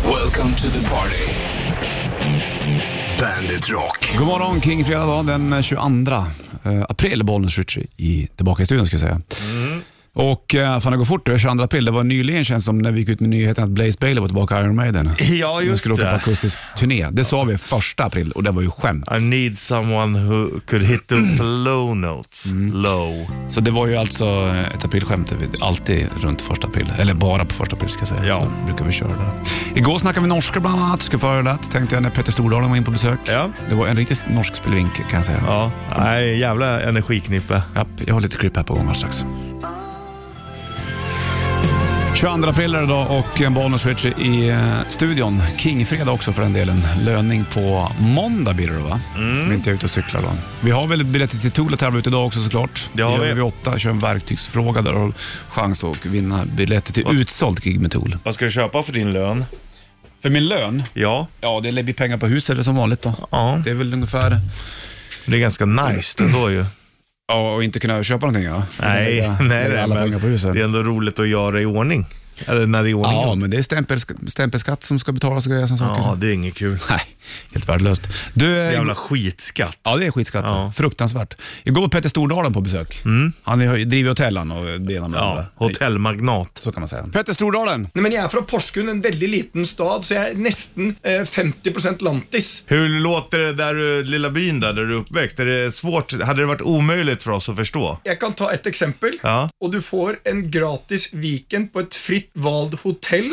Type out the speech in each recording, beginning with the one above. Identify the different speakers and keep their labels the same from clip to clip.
Speaker 1: Welcome to the party. Bandit Rock.
Speaker 2: God morgon kring fredag dag den 22 eh, april, Bollnäs Ritchie i tillbaka i studion ska jag säga.
Speaker 3: Mm.
Speaker 2: Och eh, fan det går fort, det är 22 april. Det var nyligen känns det som när vi gick ut med nyheten att Blaze Bailey var tillbaka i Iron Maiden.
Speaker 3: Ja,
Speaker 2: De
Speaker 3: just
Speaker 2: skulle åka på
Speaker 3: det.
Speaker 2: akustisk turné. Det sa vi första april och det var ju skämt.
Speaker 3: I need someone who could hit those low notes. Low.
Speaker 2: Så det var ju alltså eh, ett aprilskämt, det vi alltid runt första april. Eller bara på första april ska jag säga.
Speaker 3: Ja.
Speaker 2: Så brukar vi köra det. Igår snackade vi norska bland annat, skulle få höra det. Tänkte jag när Petter Stordalen var in på besök.
Speaker 3: Ja.
Speaker 2: Det var en riktig norsk spelvink kan jag säga.
Speaker 3: Ja, nej, jävla energiknippe.
Speaker 2: Japp, jag har lite klipp här på gång alldeles strax. 22 april är det idag och en Bonus Richie i eh, studion. Kingfredag också för den delen. Löning på måndag blir det då va?
Speaker 3: Mm.
Speaker 2: Om inte jag är ute och cyklar då. Vi har väl biljetter till Tool att tävla ut idag också såklart.
Speaker 3: Det har
Speaker 2: Det gör
Speaker 3: vi.
Speaker 2: Vid åtta, kör en verktygsfråga där och chans att vinna biljetter till utsålt gig med Tool.
Speaker 3: Vad ska du köpa för din lön?
Speaker 2: För min lön,
Speaker 3: Ja,
Speaker 2: ja det blir pengar på huset som vanligt då.
Speaker 3: ja
Speaker 2: Det är väl ungefär,
Speaker 3: det är ganska nice ändå ju.
Speaker 2: ja och inte kunna köpa någonting ja.
Speaker 3: Nej,
Speaker 2: Lägga-
Speaker 3: nej,
Speaker 2: lägga
Speaker 3: nej
Speaker 2: alla pengar
Speaker 3: men
Speaker 2: på huset.
Speaker 3: det är ändå roligt att göra i ordning. Eller när det är i ordning.
Speaker 2: Ja,
Speaker 3: Ja,
Speaker 2: men det är stämpelsk- stämpelskatt som ska betalas och grejer som saker.
Speaker 3: ja det är inget kul.
Speaker 2: Nej, helt värdelöst. Du, eh,
Speaker 3: Jävla skitskatt.
Speaker 2: Ja, det är skitskatt.
Speaker 3: Ja. Mm.
Speaker 2: Fruktansvärt. Igår var Petter Stordalen på besök. Han är, driver hotell han och det ena med det
Speaker 3: Ja,
Speaker 2: andra.
Speaker 3: hotellmagnat.
Speaker 2: Så kan man säga. Petter Stordalen!
Speaker 4: Nei, men jeg er fra Porsgrunn, en veldig liten stad, så jeg er nesten eh, 50 lantis.
Speaker 3: Hur låter det där du, lilla byn där, där du är uppväxt? Är det svårt? Hade det varit omöjligt för oss att förstå?
Speaker 4: Jeg kan ta et eksempel.
Speaker 3: Ja.
Speaker 4: Og du får en gratis weekend på et fritt valgt hotell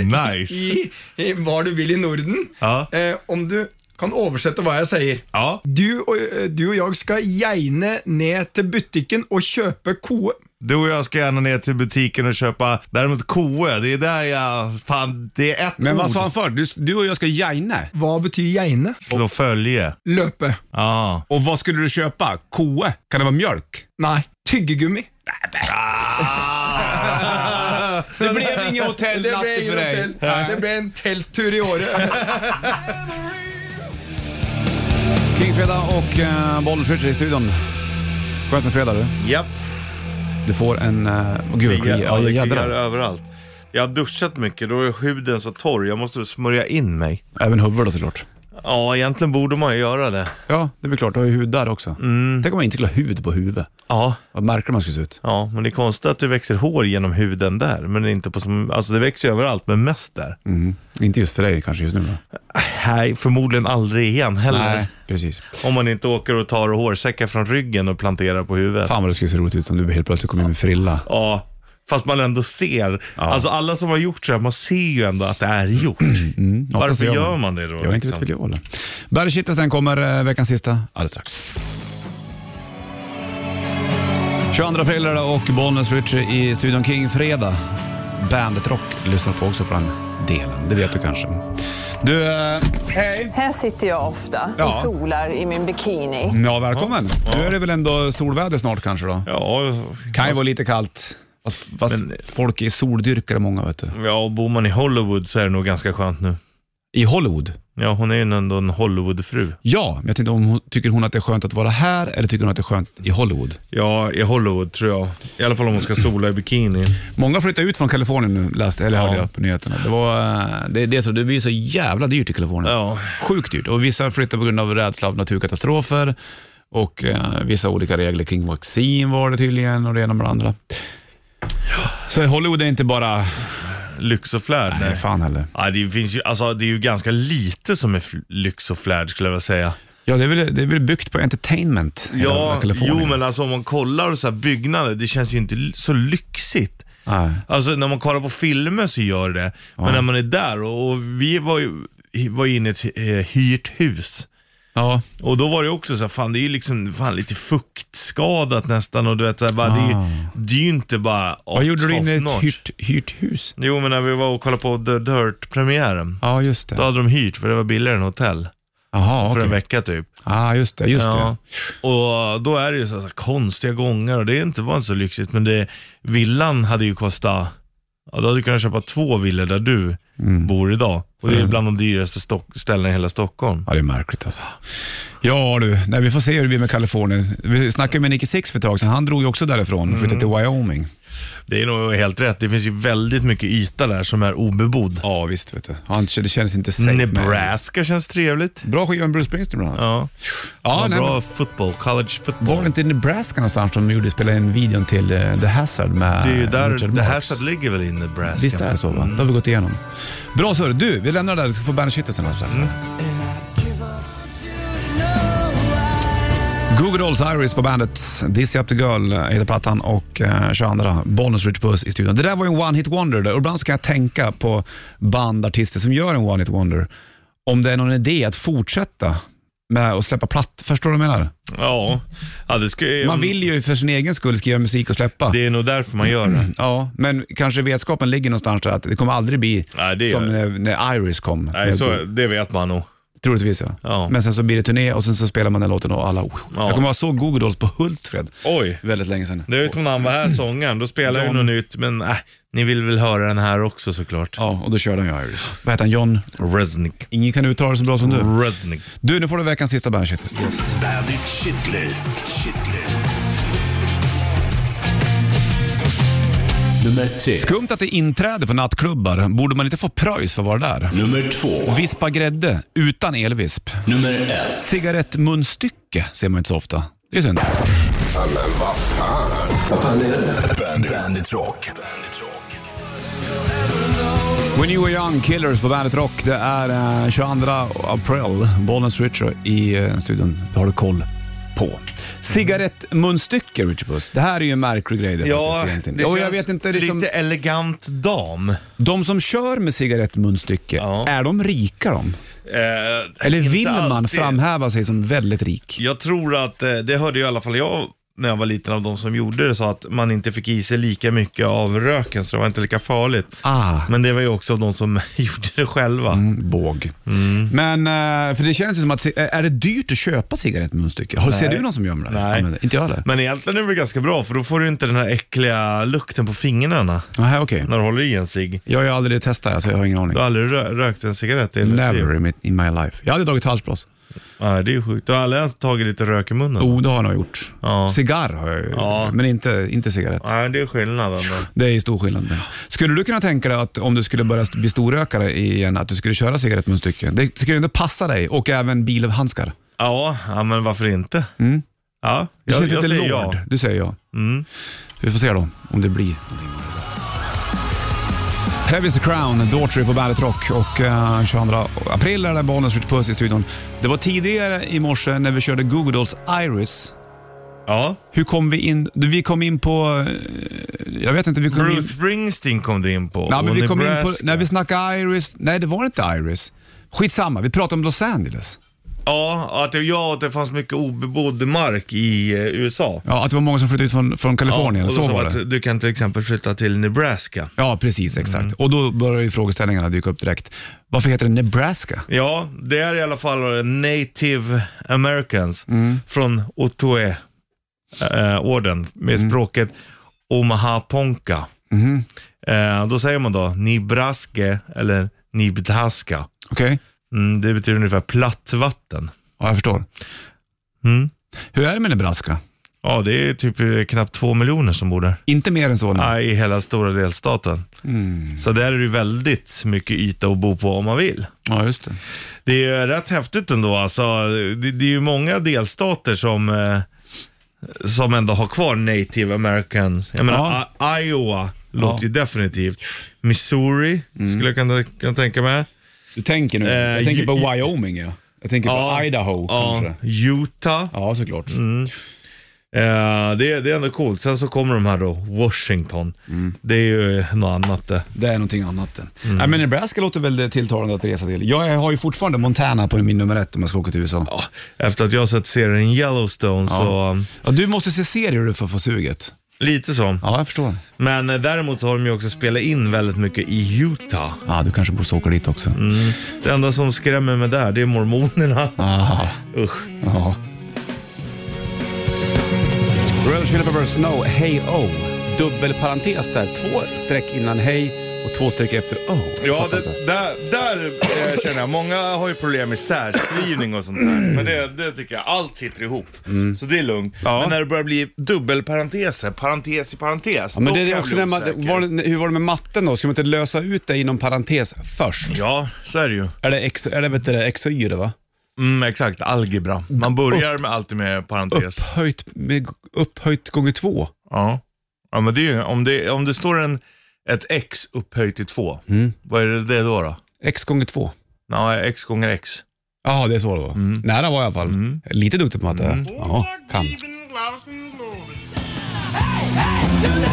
Speaker 4: eh,
Speaker 3: Nice.
Speaker 4: i, i hva du vil i Norden.
Speaker 3: Ja.
Speaker 4: Eh, om du kan oversette hva jeg sier.
Speaker 3: Ja,
Speaker 4: Du og, du og jeg skal gjerne ned til butikken og kjøpe koe.
Speaker 3: Du och jag ska gärna ner till butiken och köpa, däremot koe, det är där jag, fan det är ett
Speaker 2: Men vad
Speaker 3: ord.
Speaker 2: sa han för? Du, du och jag ska jaina.
Speaker 4: Hva betyr gjerne?
Speaker 3: Slå följe.
Speaker 4: Løpe.
Speaker 3: Ja.
Speaker 2: Och vad skulle du köpa? Koe? Kan det vara mjölk?
Speaker 4: Nei. Tyggegummi.
Speaker 2: Det blev ingen
Speaker 4: Det ble,
Speaker 2: hotellnatt för
Speaker 4: ingen
Speaker 2: dig.
Speaker 4: hotell. det ble en telttur i året.
Speaker 2: Kingfredag och eh, Bollnäs i studion. Skönt med fredag du.
Speaker 3: Japp.
Speaker 2: Du får en... Eh, oh, gud, jag,
Speaker 3: Ja,
Speaker 2: jag,
Speaker 3: det
Speaker 2: jag
Speaker 3: kliar
Speaker 2: jädrar.
Speaker 3: överallt. Jag har duschat mycket, då är huden så torr. Jag måste smörja in mig.
Speaker 2: Även huvudet såklart.
Speaker 3: Ja, egentligen borde man ju göra det.
Speaker 2: Ja, det är väl klart. Du har ju hud där också. Tänk om man inte skulle ha hud på huvudet.
Speaker 3: Ja,
Speaker 2: Vad märklig man skulle se ut.
Speaker 3: ja, men det är konstigt att det växer hår genom huden där. Men inte på som, alltså det växer ju överallt, men mest där.
Speaker 2: Mm. Inte just för dig kanske just nu. men-
Speaker 3: Nej, förmodligen aldrig igen heller.
Speaker 2: precis.
Speaker 3: Om man inte åker och tar hårsäckar från ryggen och planterar på huvudet.
Speaker 2: Fan vad det skulle se roligt ut om du helt plötsligt kom in med frilla.
Speaker 3: Ja, fast man ändå ser. Alltså alla som har gjort så här, man ser ju ändå att det är gjort.
Speaker 2: Oftast
Speaker 3: Varför Mm. gör man det då? liksom?
Speaker 2: Jag vet inte vet väl jag eller. Barry Kittelsten kommer eh, veckans sista alldeles strax. 22 april är det och Bollnäs Ritchie i Studion King fredag. Bandet Rock lyssnar på också för den delen, det vet du kanske. Du, eh, hej!
Speaker 5: Här sitter jag ofta
Speaker 2: Ja.
Speaker 5: och solar i min bikini.
Speaker 2: Ja, välkommen. Nu är det väl ändå solväder snart kanske då?
Speaker 3: Ja,
Speaker 2: Kan ju vara lite kallt. Fast, fast
Speaker 3: Men-
Speaker 2: folk är soldyrkare många vet du.
Speaker 3: ja, och bor man i Hollywood så är det nog ganska skönt nu.
Speaker 2: I Hollywood?
Speaker 3: Ja, hon är ju ändå en Hollywoodfru.
Speaker 2: Ja, men jag tänkte om hon, tycker hon att det är skönt att vara här eller tycker hon att det är skönt i Hollywood?
Speaker 3: Ja, i Hollywood tror jag. I alla fall om hon ska sola i bikini.
Speaker 2: Många flyttar ut från Kalifornien nu, läste, eller hörde
Speaker 3: Ja.
Speaker 2: jag på nyheterna. Det, var, eh, det, det, är så, det blir så jävla dyrt i Kalifornien.
Speaker 3: Ja.
Speaker 2: Sjukt dyrt. Och vissa flyttar på grund av rädsla av naturkatastrofer och eh, vissa olika regler kring vaccin var det tydligen och det ena med det andra. Så Hollywood är inte bara...
Speaker 3: Lyx och flärd,
Speaker 2: Nej,
Speaker 3: nej.
Speaker 2: fan heller.
Speaker 3: Ja, det, finns ju, alltså, det är ju ganska lite som är fl- lyx och flärd skulle jag vilja säga.
Speaker 2: Ja, det är väl, det är väl byggt på entertainment. hela
Speaker 3: Ja,
Speaker 2: Kalifornien.
Speaker 3: jo men alltså om man kollar så här byggnader, det känns ju inte l- så lyxigt.
Speaker 2: Nej.
Speaker 3: Alltså när man kollar på filmer så gör det, men när man är där och, och vi var ju var inne i ett eh, hyrt hus.
Speaker 2: Ja.
Speaker 3: Och då var det också så här, fan det är ju liksom fan, lite fuktskadat nästan och du vet så här, bara, det, är ju, det är ju inte bara
Speaker 2: Ah. Vad gjorde du inne i ett
Speaker 3: top-notch.
Speaker 2: hyrt, hyrt hus?
Speaker 3: Jo men när vi var och kollade på The Dirt-premiären,
Speaker 2: Ja, just
Speaker 3: då
Speaker 2: det.
Speaker 3: hade de hyrt för det var billigare än hotell.
Speaker 2: Jaha,
Speaker 3: För
Speaker 2: okej.
Speaker 3: en vecka typ.
Speaker 2: ah, just det. Just
Speaker 3: Ja.
Speaker 2: det.
Speaker 3: Och då är det ju så här, så här, konstiga gångar och det är inte var inte så lyxigt men det, villan hade ju kostat, ja, då hade du kunnat köpa två villor där du
Speaker 2: Mm.
Speaker 3: bor idag. Och det är bland de dyraste stock, ställena i hela Stockholm.
Speaker 2: Ja, det är märkligt alltså. Ja du, Nej, vi får se hur det blir med Kalifornien. Vi snackade med Nicky Six för ett tag sedan. Han drog ju också därifrån och flyttade till Wyoming.
Speaker 3: Det är nog helt rätt. Det finns ju väldigt mycket yta där som är obebodd.
Speaker 2: Ja, visst vet du. Han, det kändes inte safe. med-
Speaker 3: Nebraska känns trevligt.
Speaker 2: Bra skiva med Bruce Springsteen bland annat.
Speaker 3: Ja,
Speaker 2: Ja,
Speaker 3: ja
Speaker 2: nej,
Speaker 3: bra fotboll, college football.
Speaker 2: men var det inte i Nebraska någonstans som de gjorde, spelade in videon till eh, The Hazard med
Speaker 3: Det är ju där
Speaker 2: Richard
Speaker 3: det här
Speaker 2: Marx?
Speaker 3: satt ligger väl i Nebraska.
Speaker 2: Visst är det så va? Det har vi gått igenom. Bra så Du, vi lämnar det där. Du ska få bandet kittet sen alldeles strax. Google Dolls Iris på bandet. This Up The Girl eh, heter plattan och eh, 22 Bollnäs Rich Puss i studion. Det där var ju en one-hit wonder. där. Och ibland så kan jag tänka på band, artister som gör en one-hit wonder. Om det är någon idé att fortsätta med att släppa platt. Förstår du vad jag menar?
Speaker 3: Ja. ja det ska,
Speaker 2: Man vill ju för sin egen skull skriva musik och släppa.
Speaker 3: Det är nog därför man gör det.
Speaker 2: Ja, men kanske vetskapen ligger någonstans där att det kommer aldrig bli
Speaker 3: Nej, det är-
Speaker 2: som när, när Iris kom.
Speaker 3: Nej,
Speaker 2: Med-
Speaker 3: så, det vet man nog.
Speaker 2: Troligtvis ja.
Speaker 3: Ja.
Speaker 2: Men sen så blir det turné och sen så spelar man den låten och alla... Jag kommer ihåg så Google Dolls på Hultfred
Speaker 3: Oj.
Speaker 2: väldigt länge sedan.
Speaker 3: Det är ju som när han var här, sångaren. Då spelar ju
Speaker 2: John.
Speaker 3: något nytt, men äh, ni vill väl höra den här också såklart.
Speaker 2: Ja, och då körde han ju Iris. Vad heter han? John?
Speaker 3: Resnick.
Speaker 2: Ingen kan uttala det så bra som du.
Speaker 3: Resnick.
Speaker 2: Du, nu får du veckans sista bandshitlist.
Speaker 1: Bandit Shitlist. Shitlist. Nummer tre.
Speaker 2: Skumt att det är inträde på nattklubbar. Borde man inte få pröjs för att vara där?
Speaker 1: Nummer två.
Speaker 2: Vispa grädde utan elvisp.
Speaker 1: Nummer ett.
Speaker 2: Cigarettmunstycke ser man inte så ofta. Det är synd.
Speaker 1: Bandit, Bandit Rock. Bandit Rock.
Speaker 2: When You Were Young, Killers på Bandet Rock. Det är eh, 22 april. Bollnäs Richard i eh, studion. Det har du koll på. Cigarettmunstycke, Richard Puss. Det här är ju en märklig grej. Det
Speaker 3: Ja,
Speaker 2: faktiskt
Speaker 3: det
Speaker 2: egentligen.
Speaker 3: känns
Speaker 2: och jag vet inte, liksom,
Speaker 3: lite elegant dam. Eh,
Speaker 2: De som kör med cigarettmunstycke,
Speaker 3: Ja,
Speaker 2: är de rika de?
Speaker 3: Eh,
Speaker 2: Eller
Speaker 3: inte
Speaker 2: vill man
Speaker 3: alltid.
Speaker 2: framhäva sig som väldigt rik?
Speaker 3: Jag tror att, eh, det hörde ju i alla fall jag när jag var liten av de som gjorde det, sa att man inte fick i sig lika mycket av röken så det var inte lika farligt.
Speaker 2: Ah,
Speaker 3: Men det var ju också av de som gjorde det själva.
Speaker 2: mm, båg. Men, eh, för det känns ju som att, ci- är det dyrt att köpa cigarettmunstycke? Har, ser
Speaker 3: Nej.
Speaker 2: du någon som gör det?
Speaker 3: Nej.
Speaker 2: Använder? Inte jag heller.
Speaker 3: Men egentligen är det väl ganska bra för då får du inte den här äckliga lukten på fingrarna
Speaker 2: Nähä, okej.
Speaker 3: när du håller i en cigg.
Speaker 2: Jag har ju aldrig testat, alltså, jag har ingen aning.
Speaker 3: Du har aldrig rö- rökt en cigarett i hela ditt liv?
Speaker 2: Never in my, in my life. Jag hade tagit halsblås.
Speaker 3: Nej, det är ju sjukt. Du har aldrig ens tagit lite rök i munnen?
Speaker 2: Jo, Oh, det har jag nog gjort.
Speaker 3: Ja.
Speaker 2: Cigarr har jag ju,
Speaker 3: Ja.
Speaker 2: men inte, inte cigarett.
Speaker 3: Nej, det är skillnaden. då.
Speaker 2: Det är ju stor skillnad. Men. Skulle du kunna tänka dig att om du skulle börja bli storrökare igen, att du skulle köra cigarettmunstycke? Det skulle ju ändå passa dig och även bilhandskar.
Speaker 3: Ja, ja, men varför inte? Ja,
Speaker 2: Mm. Det
Speaker 3: jag,
Speaker 2: känns
Speaker 3: jag
Speaker 2: lite
Speaker 3: säger
Speaker 2: lord.
Speaker 3: ja. Mm.
Speaker 2: Du säger ja. Vi får se då om det blir någonting. Heavy is the Crown, Daughtry på Bandet Rock och eh, 22 april är det Bonus Rich Puss i studion. Det var tidigare i morse när vi körde Google Dolls Iris
Speaker 3: ja.
Speaker 2: Hur kom vi in? Du, Vi kom in på... eh, Jag vet inte, vi kom
Speaker 3: Bruce
Speaker 2: in...
Speaker 3: Springsteen kom du in på.
Speaker 2: Nej, men
Speaker 3: och
Speaker 2: vi kom in på...
Speaker 3: Nebraska.
Speaker 2: När vi snackade Iris... Nej, det var inte Iris. Skitsamma, vi pratade om Los Angeles.
Speaker 3: Ja, att det, ja, att det fanns mycket obebodd mark i eh, USA.
Speaker 2: Ja, att det var många som flyttade ut från, från Kalifornien.
Speaker 3: och då
Speaker 2: så
Speaker 3: sa typ-
Speaker 2: var
Speaker 3: att
Speaker 2: det.
Speaker 3: Du kan till exempel flytta till Nebraska.
Speaker 2: Ja, precis. Exakt.
Speaker 3: Mm.
Speaker 2: Och då börjar ju frågeställningarna dyka upp direkt. Varför heter det Nebraska?
Speaker 3: Ja, det är i alla fall native americans från Otoe-orden med språket Omaha-ponka. Eh, då säger man då Nibraske eller Nibdaska.
Speaker 2: Okej?
Speaker 3: Mm, det betyder ungefär platt vatten.
Speaker 2: Ja, jag förstår.
Speaker 3: Mm.
Speaker 2: Hur är det med Nebraska?
Speaker 3: Ja, det är typ eh, knappt två miljoner som bor där.
Speaker 2: Inte mer än så nu.
Speaker 3: Nej, i hela stora delstaten. Så där är det ju väldigt mycket yta att bo på om man vill.
Speaker 2: Ja, just det.
Speaker 3: Det är rätt häftigt ändå. Alltså, det, det är ju många delstater som, eh, som ändå har kvar native americans. Jag menar,
Speaker 2: Ja.
Speaker 3: I- Iowa låter ju definitivt. Missouri
Speaker 2: Mm.
Speaker 3: skulle jag kunna, kunna tänka mig.
Speaker 2: Du tänker nu.
Speaker 3: Eh,
Speaker 2: jag tänker på
Speaker 3: ju-
Speaker 2: Wyoming, ja. Jag tänker på Idaho,
Speaker 3: ja,
Speaker 2: kanske.
Speaker 3: Utah.
Speaker 2: Ja, såklart.
Speaker 3: Eh, det, är- det är ändå coolt. Sen så kommer de här då, Washington.
Speaker 2: Mm.
Speaker 3: Det är ju något annat eh. det.
Speaker 2: Det är någonting annat. Mm. Nej, men Nebraska låter väl tilltalande att resa till. Jag har ju fortfarande Montana på min nummer ett om jag ska åka till USA.
Speaker 3: Ja, efter att jag har sett serien Yellowstone så, um,
Speaker 2: Ja, du måste se serier för att få suget.
Speaker 3: lite så.
Speaker 2: Ja, jag förstår.
Speaker 3: Men eh, däremot så har de ju också spelat in väldigt mycket i Utah.
Speaker 2: Ja, du kanske borde åka dit också.
Speaker 3: Det enda som skrämmer mig där, det är mormonerna.
Speaker 2: Ah,
Speaker 3: Usch.
Speaker 2: ja. Royal Chili Peppers Snow, Hey O. Dubbelparentes där, två streck innan Hey Och två stycken efter oh.
Speaker 3: Ja,
Speaker 2: fattar inte.
Speaker 3: det, där, där eh, känner jag. Många har ju problem med särskrivning och sånt där. Men det, det tycker jag, allt sitter ihop. Så det är lugnt.
Speaker 2: Mm. Ja.
Speaker 3: Men när det börjar bli dubbelparenteser, parentes i parentes.
Speaker 2: Ja, men
Speaker 3: då
Speaker 2: det
Speaker 3: kan
Speaker 2: är
Speaker 3: jag
Speaker 2: också
Speaker 3: bli
Speaker 2: när man,
Speaker 3: osäker.
Speaker 2: var, det- hur var det med matten då? Ska man inte lösa ut det inom parentes först?
Speaker 3: Ja, så är det ju.
Speaker 2: Är det X, är det, vet du, det, X och Y det va?
Speaker 3: Mm, exakt, algebra. Man börjar med alltid med parentes.
Speaker 2: Upphöjt, med, upphöjt gånger två.
Speaker 3: Ja. ja, men det är ju, om det, om det står en, ett x upphöjt till två,
Speaker 2: Mm.
Speaker 3: vad är det, det då? då?
Speaker 2: X gånger två.
Speaker 3: Nej, x gånger x.
Speaker 2: Ja, det är så det var.
Speaker 3: Mm.
Speaker 2: Nära var jag i alla fall. Lite duktig på matte. Ja, kan.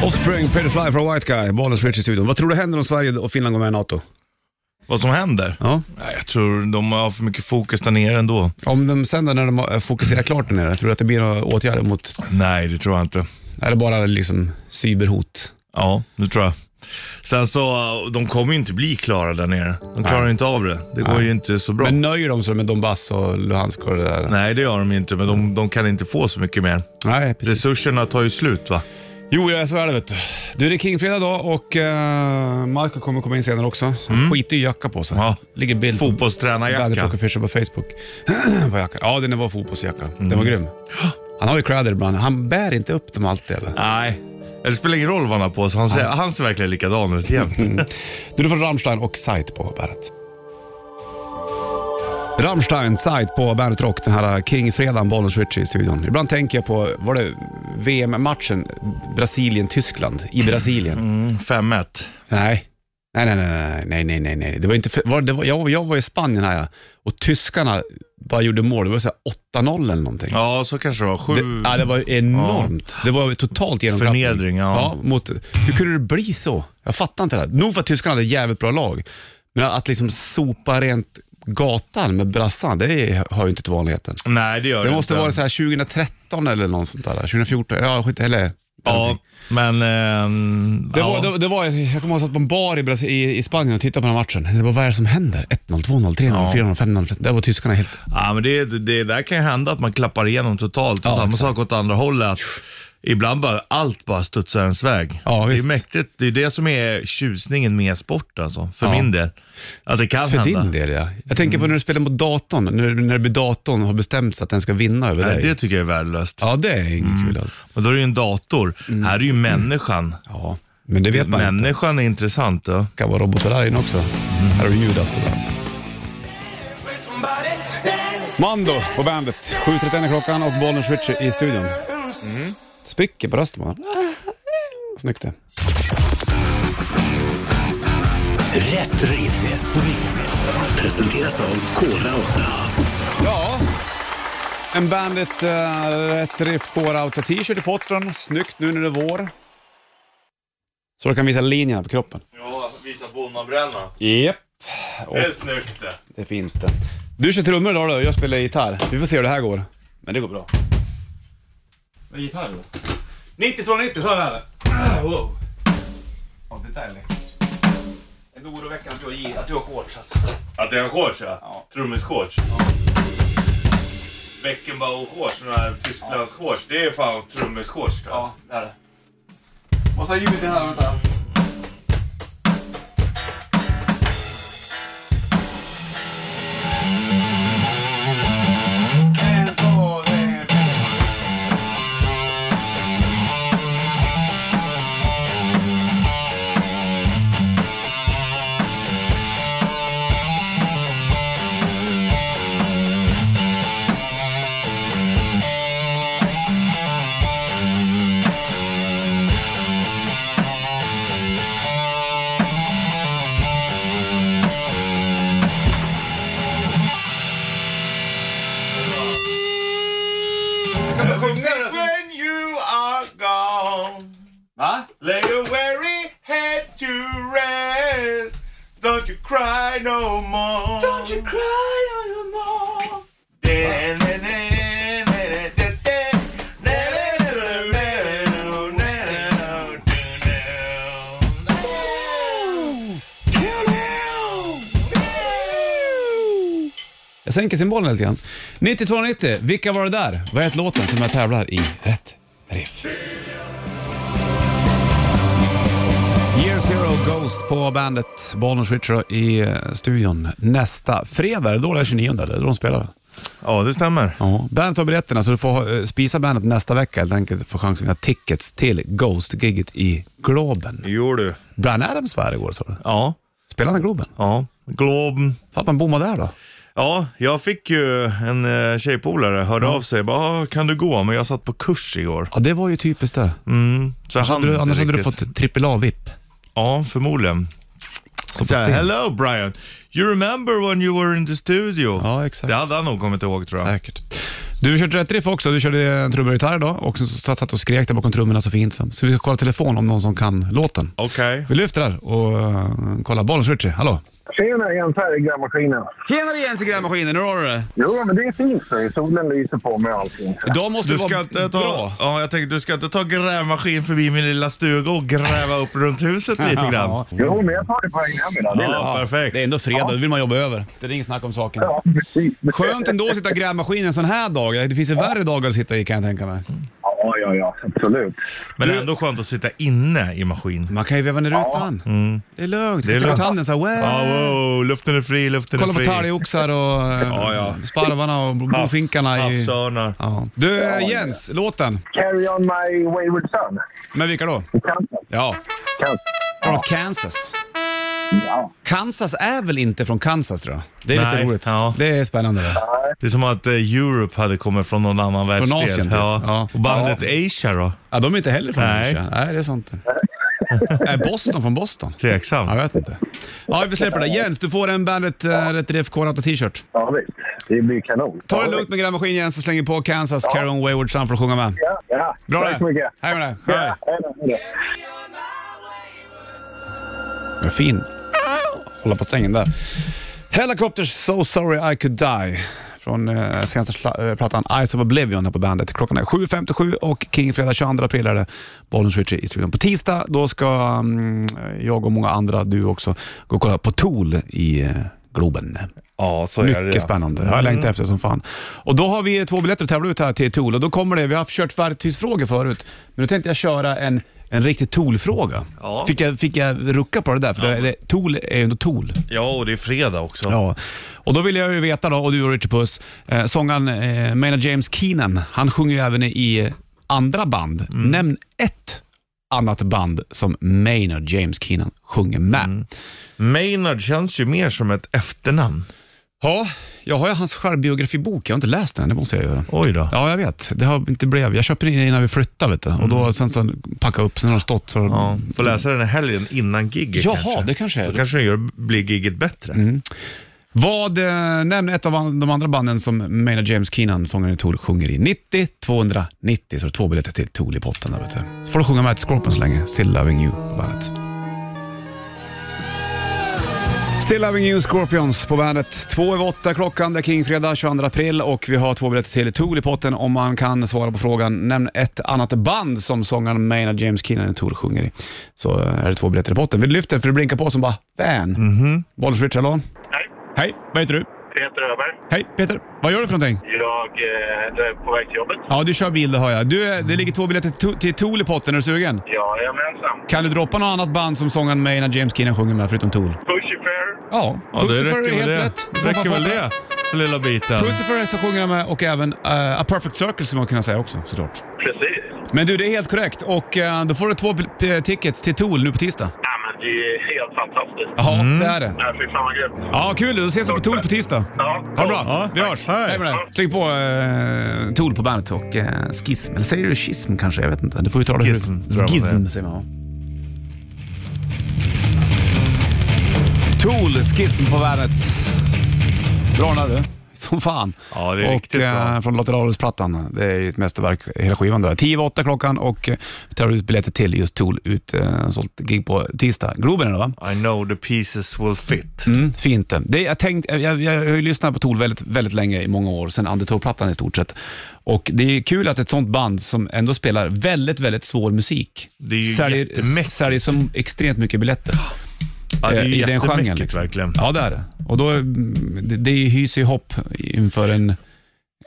Speaker 2: Offspring, Pray to Fly for a White Guy, Bollens Rich i studion. Vad tror du händer om Sverige och Finland går med i NATO?
Speaker 3: Vad som händer?
Speaker 2: Ja.
Speaker 3: Nej, jag tror de har för mycket fokus där nere ändå.
Speaker 2: Om de sen då när de har fokuserat klart där nere, tror du att det blir några åtgärder mot,
Speaker 3: Nej, det tror jag inte.
Speaker 2: är det bara liksom cyberhot?
Speaker 3: Ja, det tror jag. Sen så, de kommer ju inte bli klara där nere. De klarar ju inte av det. Det går ju inte så bra.
Speaker 2: Men nöjer de sig med Donbass och Luhansk och det där?
Speaker 3: Nej, det gör de ju inte, men de, de kan inte få så mycket mer.
Speaker 2: Nej, precis.
Speaker 3: Resurserna tar ju slut va?
Speaker 2: Jo, ja, så är det vet du. Du, det är Kingfredag idag och uh, Marco kommer komma in senare också. Mm. Skitig jacka på sig.
Speaker 3: Ja.
Speaker 2: Ligger bild på Daddy
Speaker 3: Fotbollstränarjacka.
Speaker 2: Plocker Fischer på Facebook. på jackan. Ja, den var fotbollsjacka. Den var grym. Han har ju kläder ibland. Han bär inte upp dem alltid eller?
Speaker 3: Nej, det spelar ingen roll vad han har på sig. Han ser, han ser verkligen likadan ut jämt.
Speaker 2: Mm. Du, du får Rammstein och Sight på bandet. Rammstein, Sight på Bandet Rock, den här King-fredagen, Bollnäs Ritchie i studion. Ibland tänker jag på, var det VM-matchen Brasilien-Tyskland i Brasilien?
Speaker 3: Mm, 5-1.
Speaker 2: Nej. Nej, nej, nej, nej, nej, nej, nej. Det var inte för, var, det var, jag, jag var i Spanien här ja. och tyskarna bara gjorde mål. Det var så här 8-0 eller någonting.
Speaker 3: Ja, så kanske det var. Sju...
Speaker 2: Det, ja, det var enormt. Det var totalt genomklappning.
Speaker 3: Förnedring, ja.
Speaker 2: mot, hur kunde det bli så? Jag fattar inte det här. Nog för att tyskarna hade ett jävligt bra lag, men att liksom sopa rent gatan med brassan, det är, hör ju inte till vanligheten.
Speaker 3: Nej, det gör
Speaker 2: Det
Speaker 3: det
Speaker 2: måste
Speaker 3: inte.
Speaker 2: vara så här 2013 eller något sånt där. 2014, ja, skit, eller
Speaker 3: Ja, men... ehm,
Speaker 2: Det
Speaker 3: ja.
Speaker 2: var, det, det var, jag kommer ihåg att jag satt på en bar i, Bras- i, i Spanien och tittade på den här matchen. Jag Bara, vad är det som händer? 1-0, 2-0, 3-0, 4-0, 5-0. Där var tyskarna helt...
Speaker 3: Ja, men det, det där kan ju hända att man klappar igenom totalt. Och
Speaker 2: Ja,
Speaker 3: samma
Speaker 2: exakt.
Speaker 3: sak åt andra hållet. Att ibland bara allt bara studsar ens väg.
Speaker 2: Ja,
Speaker 3: det
Speaker 2: visst.
Speaker 3: är mäktigt. Det är det som är tjusningen med sport alltså, för
Speaker 2: Ja.
Speaker 3: min del. Att det kan
Speaker 2: För
Speaker 3: hända.
Speaker 2: din del ja. Jag tänker på när du spelar mot datorn, när, när det blir datorn har bestämt sig att den ska vinna över
Speaker 3: Nej,
Speaker 2: dig.
Speaker 3: det Mm. tycker jag är värdelöst.
Speaker 2: Ja, det är inget kul alls.
Speaker 3: Men då är det ju en dator.
Speaker 2: Mm.
Speaker 3: Här är ju människan.
Speaker 2: Ja, men det vet man inte.
Speaker 3: Människan är intressant. Då.
Speaker 2: Det kan vara robotar där inne också. Här har vi Judas på bandet. Mando på bandet. 7.31 är klockan och bollen switcher i studion. Spricker Mm. på rösten bara. Snyggt det.
Speaker 6: Rätt riff. Presenteras av Kora 8.
Speaker 2: Ja. En Bandit uh, Rätt Riff Core Outer t-shirt i potten. Snyggt nu när det är vår. Så du kan visa linjerna på kroppen.
Speaker 3: Ja, visa bonnanbrännan.
Speaker 2: Japp, Det är
Speaker 3: snyggt det.
Speaker 2: det är fint det. Du kör trummor idag då och jag spelar gitarr. Vi får se hur det här går. Men det går bra. Vad är gitarr då? 90 från 90, så är det här. Ah, Wow. Ja, det där är läckert. Det är oroväckande att du har gi- att du har shorts alltså.
Speaker 3: Att det är en shorts ja?
Speaker 2: Ja.
Speaker 3: Trummisshorts? Beckenbauer-shorts, sådana här Tysklandsshorts. Det är fan trummisshorts. tror jag.
Speaker 2: Ja, det är det. Måste ha ljudet i här, vänta. En, två, tre, fyra. Kan du sjunga det?
Speaker 3: When you are gone
Speaker 2: Va?
Speaker 3: Lay your weary head to rest Don't you cry no more Don't you cry no more
Speaker 2: Jag sänker symbolen lite grann. 9290, vilka var det där? Vad heter låten som jag tävlar i Rätt Riff? Year Zero Ghost på bandet. Bonus Richard i eh, studion nästa fredag. Är det då det är 29 eller? Det är då de spelar.
Speaker 3: Ja, det stämmer.
Speaker 2: Ja. Bandet har biljetterna så du får ha- eh, spisa bandet nästa vecka helt enkelt. Får chans att vinna tickets till Ghost-giget i Globen.
Speaker 3: Jo du.
Speaker 2: Brian Adams var här igår sa du.
Speaker 3: Ja,
Speaker 2: Spelade han i Globen?
Speaker 3: ja. Globen.
Speaker 2: Fan, man bommade där då.
Speaker 3: Ja, jag fick ju en eh, tjejpolare hörde av sig bara, "Ah, kan du gå? Men jag satt på kurs igår.
Speaker 2: Ja, det var ju typiskt det.
Speaker 3: Mm, så jag hann
Speaker 2: Du,
Speaker 3: inte
Speaker 2: annars hade du
Speaker 3: riktigt.
Speaker 2: fått trippel A-vipp.
Speaker 3: Ja, förmodligen. Så
Speaker 2: på scen.
Speaker 3: Hello Brian, you remember when you were in the studio?
Speaker 2: Ja, exakt.
Speaker 3: Det hade han nog kommit ihåg tror jag.
Speaker 2: Säkert. Du körde rätt riff också. Du körde en trummor och gitarr idag och så satt satt och skrek där bakom trummorna så fint. Så vi ska kolla telefon om någon som kan låten.
Speaker 3: Okej.
Speaker 2: Vi lyfter där och eh, kollar. Bollens Ritchie, hallå?
Speaker 7: Tjena Jens här i grävmaskinen.
Speaker 2: Tjenare Jens i grävmaskinen, hur har du det?
Speaker 7: Jo, men det är fint. Så. Solen lyser på mig och allting.
Speaker 2: Idag måste
Speaker 3: Du
Speaker 2: det
Speaker 3: ska
Speaker 2: vara
Speaker 3: inte
Speaker 2: bra.
Speaker 3: ta, ja, jag tänkte, du ska inte ta grävmaskin förbi min lilla stuga och gräva upp runt huset lite grann.
Speaker 7: Jo, men jag tar det på egen hand idag. Det är lugnt.
Speaker 3: Ja, perfekt.
Speaker 2: Det är ändå fredag, då vill man jobba över. Det är inget snack om saken.
Speaker 7: Ja, precis.
Speaker 2: Skönt ändå att sitta i grävmaskinen en sån här dag. Det finns ju värre dagar att sitta i kan jag tänka mig.
Speaker 7: Ja, ja, ja. Absolut.
Speaker 3: Men det är ändå skönt att sitta inne i maskin.
Speaker 2: Man kan ju veva ner rutan. Det är lugnt.
Speaker 3: Det är
Speaker 2: Sticka ut
Speaker 3: lugnt.
Speaker 2: handen så här, wow.
Speaker 3: Ja, wow, luften är fri, luften
Speaker 2: Kolla
Speaker 3: är
Speaker 2: på
Speaker 3: fri.
Speaker 2: talgoxar och eh,
Speaker 3: Ja, ja. Alltså.
Speaker 2: sparvarna och bofinkarna. i-
Speaker 3: Havsörnar.
Speaker 2: Ja. Du eh, Jens, låten.
Speaker 7: Carry on my wayward son.
Speaker 2: Med vilka då?
Speaker 7: Kansas.
Speaker 2: Ja,
Speaker 7: Kansas.
Speaker 2: från Kansas.
Speaker 7: Ja.
Speaker 2: Kansas är väl inte från Kansas tror jag? Det är
Speaker 3: Nej,
Speaker 2: lite roligt.
Speaker 3: ja.
Speaker 2: Det är spännande. Det.
Speaker 3: Det är som att eh, Europe hade kommit från någon annan världsdel.
Speaker 2: Asien, typ.
Speaker 3: ja.
Speaker 2: Ja.
Speaker 3: Och bandet Asia då?
Speaker 2: Ja, de är inte heller från
Speaker 3: Nej.
Speaker 2: Asia. Nej, det är sant. är Boston från Boston?
Speaker 3: Tveksamt.
Speaker 2: Jag vet inte. Ja, vi släpper det. Jens, du får en Bandet äh, Rätt Riff Core Auto t-shirt.
Speaker 7: ja, visst. Det blir kanon.
Speaker 2: Ta det
Speaker 7: Ja,
Speaker 2: lugnt med grävmaskin Jens så slänger vi på Kansas, Caron Wayward Son för att sjunga med.
Speaker 7: Ja, ja.
Speaker 2: Bra
Speaker 7: Tack så mycket.
Speaker 2: Hej med dig.
Speaker 7: Ja, hej då, hej då.
Speaker 2: Vad fin. Hålla på strängen där. Helicopters So Sorry I Could Die. Från eh, senaste sla- eh, plattan Eyes of Oblivion här på bandet. Klockan är 7.57 och King fredag 22 april är det Bollen Switch i studion. På tisdag då ska mm, jag och många andra, du också, gå och kolla på Tool i eh, Globen.
Speaker 3: Ja, så är det.
Speaker 2: Mycket
Speaker 3: ja. Mm.
Speaker 2: spännande. Jag har längtat efter det som fan. Och då har vi två biljetter att tävla ut här till Tool och då kommer det, vi har kört verktygsfrågor förut, men nu tänkte jag köra en, en riktig Tool-fråga.
Speaker 3: Ja.
Speaker 2: Fick, jag, fick jag rucka på det där? För det, det, Tool är ju ändå Tool.
Speaker 3: Ja, och det är fredag också.
Speaker 2: Ja. Och då vill jag ju veta då, och du och Richard Puss, eh, sångaren eh, Maynard James Keenan, han sjunger ju även i andra band.
Speaker 3: Mm.
Speaker 2: Nämn ett annat band som Maynard James Keenan sjunger med.
Speaker 3: Mm. Maynard känns ju mer som ett efternamn.
Speaker 2: Ja, jag har ju hans självbiografibok, jag har inte läst den, det måste jag göra.
Speaker 3: Oj då.
Speaker 2: Ja, jag vet. Det har inte blev. Jag köpte den innan vi flyttade vet du. och då sen så packade jag upp, sen har den stått. Så...
Speaker 3: Ja, får läsa den här helgen innan giget
Speaker 2: Jaha,
Speaker 3: kanske.
Speaker 2: det kanske Mm. är
Speaker 3: Då
Speaker 2: det.
Speaker 3: kanske det gör, blir giget bättre.
Speaker 2: Vad, eh, nämn ett av an- de andra banden som Maynard James Keenan, sångaren i Tool, sjunger i. 90 290, så det är två biljetter till Tool i potten där vet du. Så får du sjunga med ett Scorpion så länge. Still Loving You på bandet. Still Loving You Scorpions på bandet. Två över åtta klockan, det är Kingfredag 22 april och vi har två biljetter till Tool i potten om man kan svara på frågan. Nämn ett annat band som sångaren Maynard James Keenan i Tool sjunger i. Så eh, är det två biljetter i potten. Vi lyfter för det blinkar på som bara fan. Mm-hmm. Bollers Rich, hallå?
Speaker 8: Hej,
Speaker 2: Hej, vad heter du?
Speaker 8: Peter Öberg.
Speaker 2: Hej Peter, vad gör du för någonting?
Speaker 8: Jag eh, är på väg till jobbet.
Speaker 2: Ja, du kör bil det hör jag. Du, eh, det ligger två biljetter till- till Tool i potten, är du sugen?
Speaker 8: Jag är ensam.
Speaker 2: Kan du droppa något annat band som sångaren Maynard James Keenan sjunger med förutom Tool?
Speaker 8: Pushifair.
Speaker 2: Ja,
Speaker 3: Ja, det
Speaker 2: Pussifer
Speaker 3: räcker
Speaker 2: är helt
Speaker 3: väl det.
Speaker 2: rätt. Du får
Speaker 3: räcker
Speaker 2: fan
Speaker 3: väl
Speaker 2: fatta.
Speaker 3: det för lilla biten.
Speaker 2: Pussifer så sjunger han med och även eh, A Perfect Circle som man kan säga också såklart.
Speaker 8: Precis.
Speaker 2: Men du, det är helt korrekt och eh, då får du två p- p- tickets till Tool nu på tisdag.
Speaker 8: Ja, men det är helt fantastiskt.
Speaker 2: Ja,
Speaker 3: Mm.
Speaker 2: det är det.
Speaker 8: Ja, fy fan vad grymt.
Speaker 2: Ja, kul. Då ses vi på Tool på tisdag.
Speaker 8: Ja.
Speaker 2: Ha det bra.
Speaker 3: Ja.
Speaker 2: Vi hörs.
Speaker 3: Hej.
Speaker 2: Hej med dig. Släng på eh, Tool på bandet och eh, Schism. Eller säger du Schism kanske? Jag vet inte. Du får uttala det.
Speaker 3: Schism,
Speaker 2: hur-
Speaker 3: tror jag man
Speaker 2: Schism
Speaker 3: säger.
Speaker 2: säger man. ja. Tool, Schism på bandet. Bra den där du. Som fan.
Speaker 3: Ja, det är
Speaker 2: och,
Speaker 3: riktigt bra.
Speaker 2: eh, från Lotta Dahlus-plattan. Det är ju ett mästerverk, hela skivan där. 10 över åtta klockan och eh, vi tar ut biljetter till just Tool. Ut, eh, sålt gig på tisdag. Globen är det va?
Speaker 3: I know the pieces will fit.
Speaker 2: Mm, fint det. det jag, tänkt, jag, jag, jag har ju lyssnat på Tool väldigt, väldigt länge, i många år, sen Undertow-plattan i stort sett. Och det är kul att ett sånt band som ändå spelar väldigt, väldigt svår musik
Speaker 3: Det är ju
Speaker 2: säljer,
Speaker 3: jättemäckigt.
Speaker 2: säljer som extremt mycket biljetter.
Speaker 3: Ja, det är
Speaker 2: eh,
Speaker 3: ju
Speaker 2: I den genren.
Speaker 3: jättemäckigt
Speaker 2: Liksom.
Speaker 3: verkligen.
Speaker 2: Ja, det är det. Och då, mm, det, det hyser ju hopp inför en,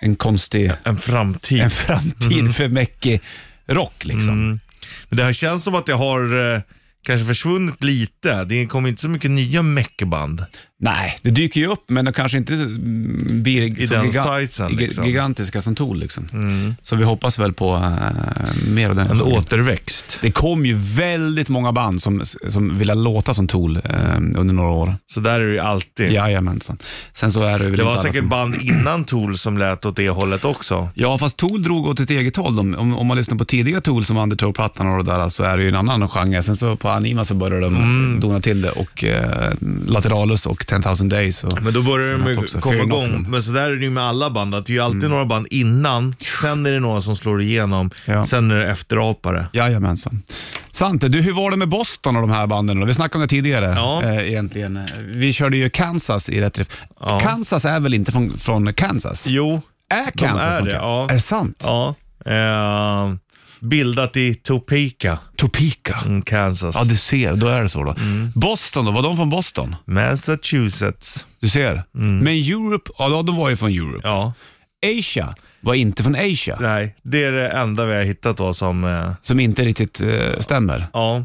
Speaker 2: en konstig
Speaker 3: En framtid.
Speaker 2: en
Speaker 3: Mm.
Speaker 2: framtid för mäckig rock. Liksom.
Speaker 3: Men det här känns som att jag har eh, kanske försvunnit lite. Det kommer inte så mycket nya meckband.
Speaker 2: Nej, det dyker ju upp, men de kanske inte mm, blir I så
Speaker 3: den sizen,
Speaker 2: gi-
Speaker 3: liksom. Mm.
Speaker 2: gigantiska som Tool. Liksom. Så vi hoppas väl på eh, mer av den.
Speaker 3: En
Speaker 2: genren.
Speaker 3: återväxt.
Speaker 2: Det kom ju väldigt många band som, som ville låta som Tool eh, under några år.
Speaker 3: Så där är det ju alltid.
Speaker 2: Jajamensan. Sen så är det väl
Speaker 3: Det var
Speaker 2: inte alla
Speaker 3: säkert
Speaker 2: som...
Speaker 3: band innan Tool som lät åt det hållet också.
Speaker 2: Ja, fast Tool drog åt ett eget håll. De- Om, om man lyssnar på tidiga Tool som Undertow-plattan och det där så är det ju en annan genre. Sen så på Anima så började de
Speaker 3: Mm.
Speaker 2: dona till det och eh, Lateralus och 10,000 Days. Och,
Speaker 3: Men då börjar
Speaker 2: Sen
Speaker 3: de
Speaker 2: att
Speaker 3: ju
Speaker 2: också
Speaker 3: komma
Speaker 2: Fear Mm.
Speaker 3: igång.
Speaker 2: Inoculum.
Speaker 3: Men så där är det ju med alla band, att det är ju alltid några band innan, sen är det några som slår igenom,
Speaker 2: Ja.
Speaker 3: sen är det efterapare.
Speaker 2: Jajamensan. Sante, du, hur var det med Boston och de här banden? då? Vi snackade om det tidigare
Speaker 3: Ja.
Speaker 2: eh, egentligen. Vi körde ju Kansas i rätt riff.
Speaker 3: Ja.
Speaker 2: Kansas är väl inte från, från Kansas?
Speaker 3: Jo,
Speaker 2: Är Kansas
Speaker 3: är
Speaker 2: från
Speaker 3: det,
Speaker 2: Kan-
Speaker 3: ja.
Speaker 2: Är det sant?
Speaker 3: ja. Eh, bildat i Topeka,
Speaker 2: Topeka.
Speaker 3: mm, Kansas.
Speaker 2: Ja, du ser. Då är det så då. Boston då? Var de från Boston?
Speaker 3: Massachusetts.
Speaker 2: Du ser. Men Europe, ja de var ju från Europe.
Speaker 3: Ja,
Speaker 2: Asia var inte från Asia,
Speaker 3: nej. Det är det enda vi har hittat då som, eh,
Speaker 2: som inte riktigt eh, stämmer.
Speaker 3: ja.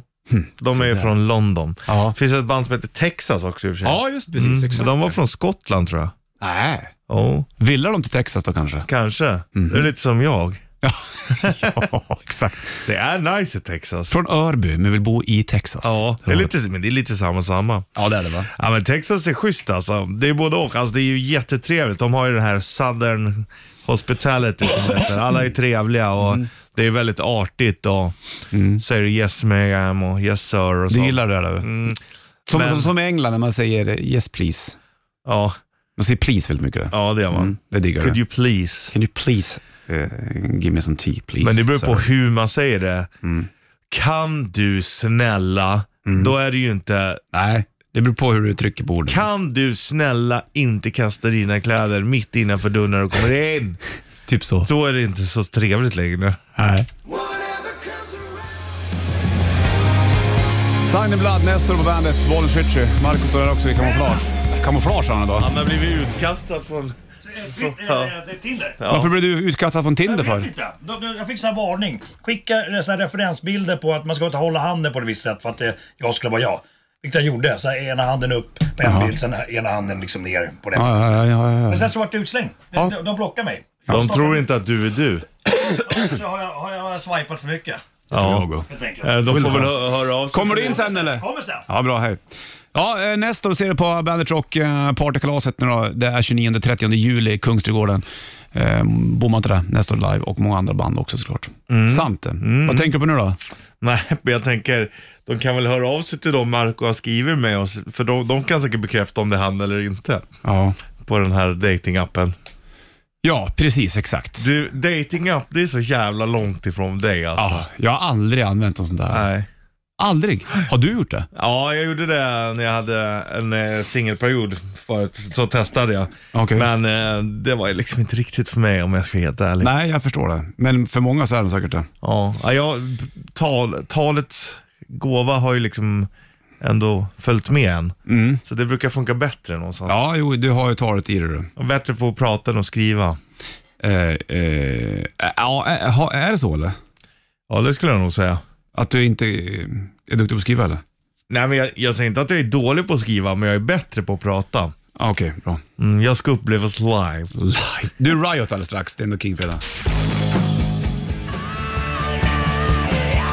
Speaker 3: De är ju från London.
Speaker 2: Hm, Ja.
Speaker 3: Det finns ett band som heter Texas också i och för sig.
Speaker 2: Ja, just precis. Exakt.
Speaker 3: De var från Skottland tror jag.
Speaker 2: Mm. Nej.
Speaker 3: Oh.
Speaker 2: Villar de till Texas då kanske?
Speaker 3: Kanske.
Speaker 2: Mhm.
Speaker 3: Det är lite som jag.
Speaker 2: ja, exakt.
Speaker 3: Det är nice i Texas.
Speaker 2: Från Örby, men vill bo i Texas.
Speaker 3: Ja, det är lite, men det är lite samma samma.
Speaker 2: ja, det är det va?
Speaker 3: Ja, men Texas är schysst alltså. Det är både och. Alltså, det är ju jättetrevligt. De har ju den här Southern Hospitality som det heter. Alla är trevliga och
Speaker 2: Mm.
Speaker 3: det är väldigt artigt och säger yes ma'am och yes sir och så. Mm.
Speaker 2: Du gillar Mm. det där du? Som,
Speaker 3: men-
Speaker 2: som, som i England när man säger eh, yes please.
Speaker 3: Ja,
Speaker 2: Man säger please väldigt mycket. där.
Speaker 3: ja, det gör man.
Speaker 2: Mm, det diggar jag.
Speaker 3: Could you please?
Speaker 2: Can you please eh, give me some tea please?
Speaker 3: Men det beror på
Speaker 2: Så. Mm.
Speaker 3: hur man säger det. Kan du snälla? Då är det ju inte
Speaker 2: Nej, det beror på hur du trycker på orden.
Speaker 3: Kan du snälla inte kasta dina kläder mitt innanför dörren när du kommer in?
Speaker 2: Typ så.
Speaker 3: Då är det inte så trevligt längre.
Speaker 2: Nej. Sign in Blood, Nestor på bandet, Bollen Switchy. Marcus står här också i kamouflage. Kamouflage har han idag.
Speaker 3: Han har blivit utkastad från...
Speaker 9: eh,
Speaker 3: Ja.
Speaker 9: Tinder.
Speaker 2: Varför blev du utkastad från Tinder
Speaker 9: Jag
Speaker 2: för?
Speaker 9: vet inte. De- de- Jag fick så här varning. Skicka så här referensbilder på att man ska inte hålla handen på ett visst sätt för att det, jag skulle vara jag. Vilket jag gjorde. Så här, ena handen upp på en bild, sen ena handen liksom ner på den.
Speaker 2: Ja, ja, ja, ja,
Speaker 9: Men
Speaker 2: ja.
Speaker 9: sen så vart det utslängd. De,
Speaker 2: Ja.
Speaker 9: de, de blockar mig.
Speaker 3: De tror inte att du är du.
Speaker 9: Så har jag, har jag, har jag swipat för mycket.
Speaker 3: Ja.
Speaker 9: Helt enkelt.
Speaker 3: Eh, De får väl hö- höra av sig.
Speaker 2: Kommer du in sen eller?
Speaker 9: Kommer sen.
Speaker 2: Ja, bra. Hej. Ja, eh, nästa år ser du på Bandit Rock eh, partykalaset nu då. Det är 29-30 juli i Kungsträdgården. Eh, Bomma inte det. Nästa år live och många andra band också såklart.
Speaker 3: Mm.
Speaker 2: Sant det. Vad tänker du på nu då?
Speaker 3: Nej, men jag tänker, de kan väl höra av sig till dem Marco har skrivit med oss. För de, de kan säkert bekräfta om det är han eller inte.
Speaker 2: Ja,
Speaker 3: På den här datingappen.
Speaker 2: ja precis exakt.
Speaker 3: Du, datingapp, det är så jävla långt ifrån dig alltså.
Speaker 2: Ja, jag har aldrig använt en sån där.
Speaker 3: Nej.
Speaker 2: Aldrig? Har du gjort det?
Speaker 3: Ja, jag gjorde det när jag hade en eh, singelperiod förut, så testade jag.
Speaker 2: Okej.
Speaker 3: Men eh, det var ju liksom inte riktigt för mig om jag ska vara helt ärlig.
Speaker 2: Nej, jag förstår det. Men för många så är det säkert det.
Speaker 3: Ja, ja, jag, tal, talets gåva har ju liksom ändå följt med en.
Speaker 2: Mm.
Speaker 3: Så det brukar funka bättre någonstans.
Speaker 2: Ja, jo, du har ju talet i dig du.
Speaker 3: Och Bättre på att prata än att skriva.
Speaker 2: Eh, eh, ja, eh, ha- är det så eller?
Speaker 3: Ja, det skulle jag nog säga.
Speaker 2: Att du inte eh, är duktig på att skriva eller?
Speaker 3: Nej, men jag, jag säger inte att jag är dålig på att skriva, men jag är bättre på att prata.
Speaker 2: Ah, Okej, bra.
Speaker 3: Mm, jag ska upplevas live.
Speaker 2: Live. Du, Riot alldeles strax. Det är ändå King-fredag.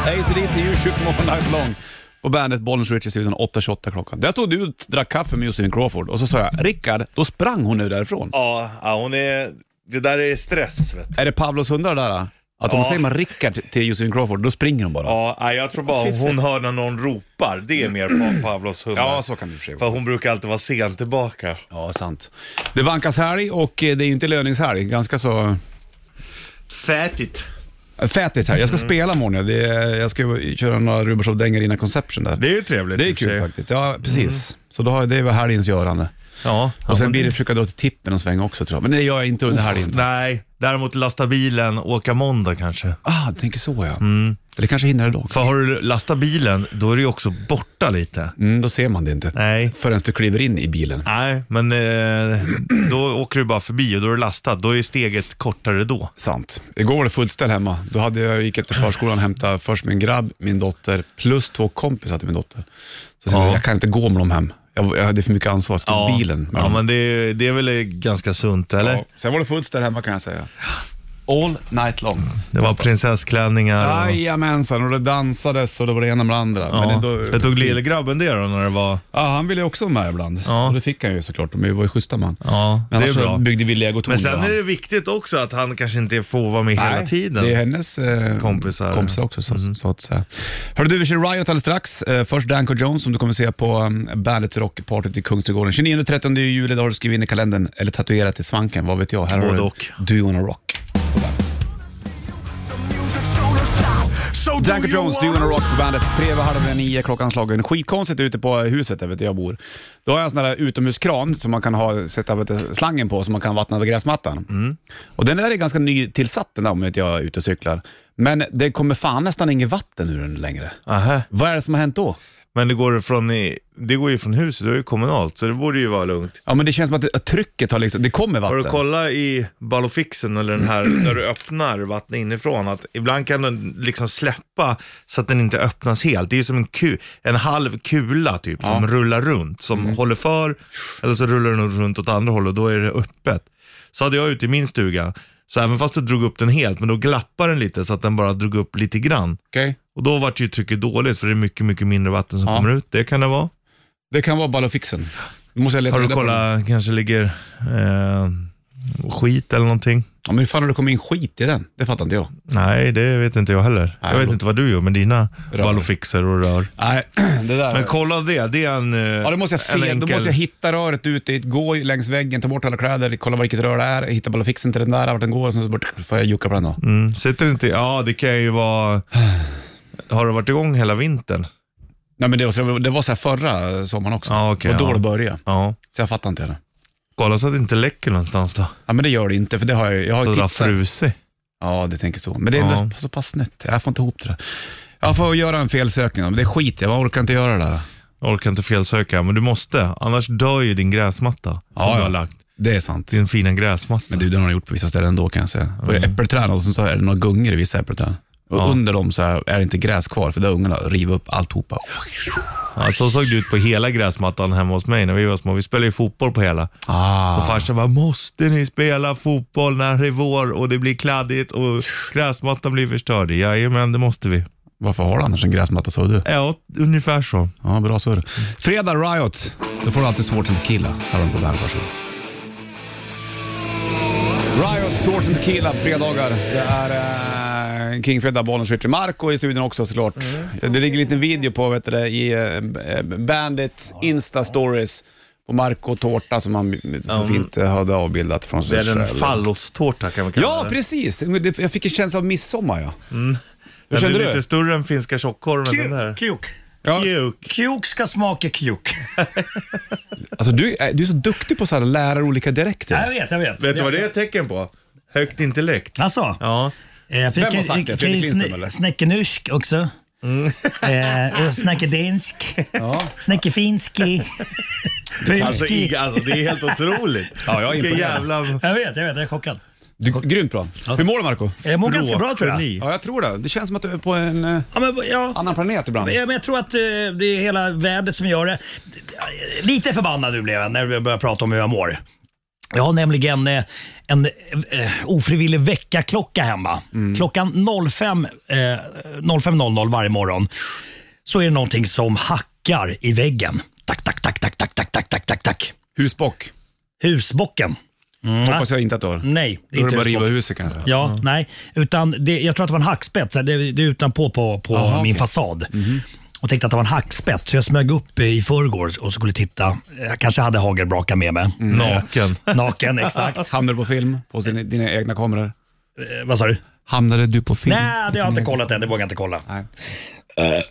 Speaker 2: ACDC, You Shook Me All Night Long. På bandet Bollnäs Rich i studion 8.28 klockan. Där stod du och drack kaffe med Josefin Crawford och så sa jag Rickard, då sprang hon nu därifrån.
Speaker 3: Ja, ja, hon är... Det där är stress, vet du.
Speaker 2: Är det Pavlos hundar där? Att om
Speaker 3: Ja.
Speaker 2: säger man Rickard till Josefin Crawford, då springer hon bara.
Speaker 3: Ja, nej, jag tror bara hon hör när någon ropar. Det är mer på Pavlos hundar.
Speaker 2: Ja, så kan det i och för sig
Speaker 3: För
Speaker 2: vara.
Speaker 3: hon brukar alltid vara sen tillbaka.
Speaker 2: Ja, sant. Det vankas helg och eh, det är ju inte löningshelg. Ganska så
Speaker 3: Fätigt.
Speaker 2: eh, fätigt här. Jag ska spela imorgon. ja. Det är, jag ska ju köra några Rubers of Dänger innan Conception där.
Speaker 3: Det är ju trevligt
Speaker 2: Det
Speaker 3: i
Speaker 2: är
Speaker 3: och för
Speaker 2: kul
Speaker 3: sig.
Speaker 2: faktiskt. Ja, precis. Så då har, det var helgens görande.
Speaker 3: Ja.
Speaker 2: Och
Speaker 3: Ja,
Speaker 2: sen
Speaker 3: men-
Speaker 2: blir det försöka dra till tippen och svänga också tror jag. Men det gör jag inte under helgen.
Speaker 3: Nej, Däremot lasta bilen, åka måndag kanske.
Speaker 2: Ah, du tänker så ja.
Speaker 3: Mm.
Speaker 2: Eller kanske hinner det då.
Speaker 3: För har du lastat bilen, då är du ju också borta lite.
Speaker 2: Mm, då ser man det inte
Speaker 3: Nej.
Speaker 2: förrän du kliver in i bilen.
Speaker 3: Nej, men eh, då åker du bara förbi och då är du lastad. Då är steget kortare då.
Speaker 2: Sant. Igår var det fullt ställ hemma. Då hade jag, gick jag till förskolan och hämtade först min grabb, min dotter, plus två kompisar till min dotter. Så jag sa,
Speaker 3: Ja.
Speaker 2: jag kan inte gå med dem hem. Jag, jag hade för mycket ansvar, stod i bilen med
Speaker 3: ja
Speaker 2: dem.
Speaker 3: men det, är- det är väl eh, ganska sunt, eller?
Speaker 2: Ja, Sen var det fullt ställ hemma kan jag säga. All night long.
Speaker 3: Det var prinsessklänningar och...
Speaker 2: Jajamensan, och det dansades och det var det ena med det andra.
Speaker 3: Ja.
Speaker 2: Men det,
Speaker 3: jag tog lillegrabben det då när det var...
Speaker 2: ja, han ville ju också vara med ibland.
Speaker 3: Ja.
Speaker 2: Och det fick han ju såklart. De var ju schyssta man.
Speaker 3: Ja,
Speaker 2: Men
Speaker 3: det är
Speaker 2: annars så
Speaker 3: bra.
Speaker 2: byggde vi legotorn.
Speaker 3: Men sen
Speaker 2: ibland.
Speaker 3: är det viktigt också att han kanske inte får vara med hela
Speaker 2: Nej,
Speaker 3: tiden.
Speaker 2: Det är hennes eh,
Speaker 3: Kompisar. Mm.
Speaker 2: kompisar. också. Så, så att säga. Hörru du, vi kör Riot alldeles strax. Eh, först Danko Jones som du kommer se på um, Bandet Rockpartyt i Kungsträdgården. 29-30 juli, det har du skrivit in i kalendern. Eller tatuerat i svanken, vad vet jag. Här har
Speaker 3: Både
Speaker 2: du
Speaker 3: och.
Speaker 2: Do Wanna Rock. på Bandet. Danko Jones, Do Wanna Rock på bandet. Tre över halv nio, klockan slagen. Skitkonstigt ute på huset där vet jag, jag bor. Då har jag en sån där utomhuskran som man kan ha, sätta vet du, slangen på så man kan vattna över gräsmattan.
Speaker 3: Mm.
Speaker 2: Och den där är ganska nytillsatt den där om inte jag är ute och cyklar. Men det kommer fan nästan inget vatten ur den längre.
Speaker 3: Aha.
Speaker 2: Vad är det som har hänt då?
Speaker 3: Men det går, från, i- det går ju från huset, det är ju kommunalt, så det borde ju vara lugnt.
Speaker 2: Ja men det känns som att, det, att trycket har liksom, det kommer
Speaker 3: Har
Speaker 2: vatten.
Speaker 3: du kollat i ballofixen eller den här när du öppnar vattnet inifrån att ibland kan den liksom släppa så att den inte öppnas helt. Det är som en, ku, en halv kula typ som rullar runt, som
Speaker 2: Mm.
Speaker 3: håller för eller så rullar den runt åt andra hållet och då är det öppet. Så hade jag ute i min stuga, så även fast du drog upp den helt, men då glappade den lite så att den bara drog upp lite grann.
Speaker 2: Okej.
Speaker 3: Och då vart ju trycket dåligt för det är mycket, mycket mindre vatten som
Speaker 2: Ja.
Speaker 3: kommer ut. Det kan det vara.
Speaker 2: Det kan vara ballofixen. Då måste jag leta
Speaker 3: Har du
Speaker 2: reda på den.
Speaker 3: kollat, kanske ligger eh, skit eller någonting?
Speaker 2: Ja, men hur fan har det kommit in skit i den? Det fattar inte jag.
Speaker 3: Nej, det vet inte jag heller.
Speaker 2: Nej,
Speaker 3: jag vet
Speaker 2: då-
Speaker 3: inte vad du gör med dina
Speaker 2: Rör.
Speaker 3: ballofixer och rör.
Speaker 2: Nej, det där...
Speaker 3: Men kolla det, det är en eh,
Speaker 2: Ja, då måste jag,
Speaker 3: en
Speaker 2: fel, då måste jag hitta röret ut dit, gå längs väggen, ta bort alla kläder, kolla vilket rör det är, hitta ballofixen till den där, vart den går och sen så bort, får jag jucka på den då.
Speaker 3: mm, sitter inte, ja det kan ju vara... Har det varit igång hela vintern?
Speaker 2: Nej, men det var, så, det var så här förra sommaren också.
Speaker 3: Ja, okej,
Speaker 2: och då
Speaker 3: ja.
Speaker 2: det började.
Speaker 3: Ja.
Speaker 2: Så jag fattar inte det.
Speaker 3: Kolla så att det inte läcker någonstans då.
Speaker 2: Ja, men det gör det inte, för det har jag, jag har
Speaker 3: Så
Speaker 2: ju
Speaker 3: det har
Speaker 2: tittat.
Speaker 3: frusit.
Speaker 2: Ja, det tänker så. Men det är
Speaker 3: Ja.
Speaker 2: ändå så pass snett. Jag får inte ihop det där. Jag får göra en felsökning, men det är skit. Jag orkar inte göra det där.
Speaker 3: Jag orkar inte felsöka, men du måste. Annars dör ju din gräsmatta som
Speaker 2: Ja,
Speaker 3: du har
Speaker 2: ja.
Speaker 3: lagt.
Speaker 2: Det är sant.
Speaker 3: Din fina gräsmatta.
Speaker 2: Men du, den har jag gjort på vissa ställen ändå kan jag säga. Och äppelträd och så är det några gungor i vissa äppelträd. Och
Speaker 3: Ja.
Speaker 2: under dem så är det inte gräs kvar, för där har ungarna rivit upp alltihopa.
Speaker 3: Ja, så såg det ut på hela gräsmattan hemma hos mig när vi var små. Vi spelade ju fotboll på hela.
Speaker 2: Ah.
Speaker 3: Och farsan bara, måste ni spela fotboll när det är vår och det blir kladdigt och gräsmattan blir förstörd? Jajamän, det måste vi.
Speaker 2: Varför har du annars en gräsmatta så du?
Speaker 3: Ja, ungefär så.
Speaker 2: Ja, bra så är det. Fredag, Riot. Då får du alltid Swords and Tequila. Här har de på bandet, varsågod. Riot, Swords and Tequila på fredagar. Det är eh, Kingfredag, Bollnäs, Richard Marco i studion också såklart. Det ligger en liten video på vet du, det, i eh, Bandits Insta-stories på Marco Tårta som han så fint eh, hade avbildat från
Speaker 3: Det
Speaker 2: sig
Speaker 3: är en
Speaker 2: själv.
Speaker 3: fallostårta kan man kalla
Speaker 2: Ja,
Speaker 3: det.
Speaker 2: precis! Det- Jag fick en känsla av midsommar ja. Hur
Speaker 3: Den
Speaker 2: kände
Speaker 3: Mm. är
Speaker 2: du?
Speaker 3: lite större än finska tjockkorven den där.
Speaker 9: Kuk.
Speaker 2: Ja.
Speaker 3: Kuk.
Speaker 9: Kuk ska smaka kuk.
Speaker 2: Alltså, du, är- du är så duktig på så här, att lära olika direkter.
Speaker 9: jag vet, jag vet.
Speaker 3: Vet du vad det är ett tecken på? Högt intellekt.
Speaker 9: Alltså?
Speaker 3: Ja.
Speaker 9: eh, Jag fick
Speaker 2: Vem har sagt det? Fredrik Lindström, eller? Mm.
Speaker 9: Snäckenusk också. eh, och snäckedansk.
Speaker 2: Ja.
Speaker 9: Snäckefinski.
Speaker 3: Alltså,
Speaker 9: Finski.
Speaker 3: i- alltså det är helt otroligt.
Speaker 2: Ja, jag är
Speaker 3: Vilken
Speaker 2: imponerad.
Speaker 3: jävla
Speaker 9: Jag vet, jag vet. Jag är chockad.
Speaker 2: Du, grymt bra. Hur mår du Marco?
Speaker 9: Jag mår ganska bra tror jag.
Speaker 3: språkgeni.
Speaker 2: Ja, jag tror det. Det känns som att du är på en eh,
Speaker 9: Ja, men, ja,
Speaker 2: annan planet ibland.
Speaker 9: Ja, men jag tror att eh, det är hela vädret som gör det. Lite förbannad du blev jag när vi började prata om hur jag mår. Jag har nämligen eh, en eh, ofrivillig väckarklocka hemma.
Speaker 2: Mm.
Speaker 9: Klockan 05, eh, 05.00 varje morgon så är det någonting som hackar i väggen. Tack, tack, tack, tack, tack, tack, tack, tack, tack, tack.
Speaker 2: Husbock.
Speaker 9: Husbocken. Ah. Mm.
Speaker 2: Hoppas jag inte att du har.
Speaker 9: Nej, det
Speaker 2: Då är det
Speaker 9: är inte
Speaker 2: bara att riva
Speaker 9: husbocken.
Speaker 2: huset kan jag säga.
Speaker 9: Ja, nej. Utan det, jag tror att det var en hackspett. Så här, Det, det är utanpå på, på
Speaker 2: Aha,
Speaker 9: min
Speaker 2: okej.
Speaker 9: fasad. Och tänkte att det var en hackspett, så jag smög upp i förrgår och skulle titta. Jag kanske hade hagelbraka med mig. Eh,
Speaker 3: naken.
Speaker 9: Naken, exakt.
Speaker 2: Hamnade du på film på sin, dina egna kameror?
Speaker 9: Eh, vad sa du?
Speaker 2: Hamnade du på film?
Speaker 9: Nej, det har jag inte kollat än. Det vågar jag inte kolla.
Speaker 2: Nej.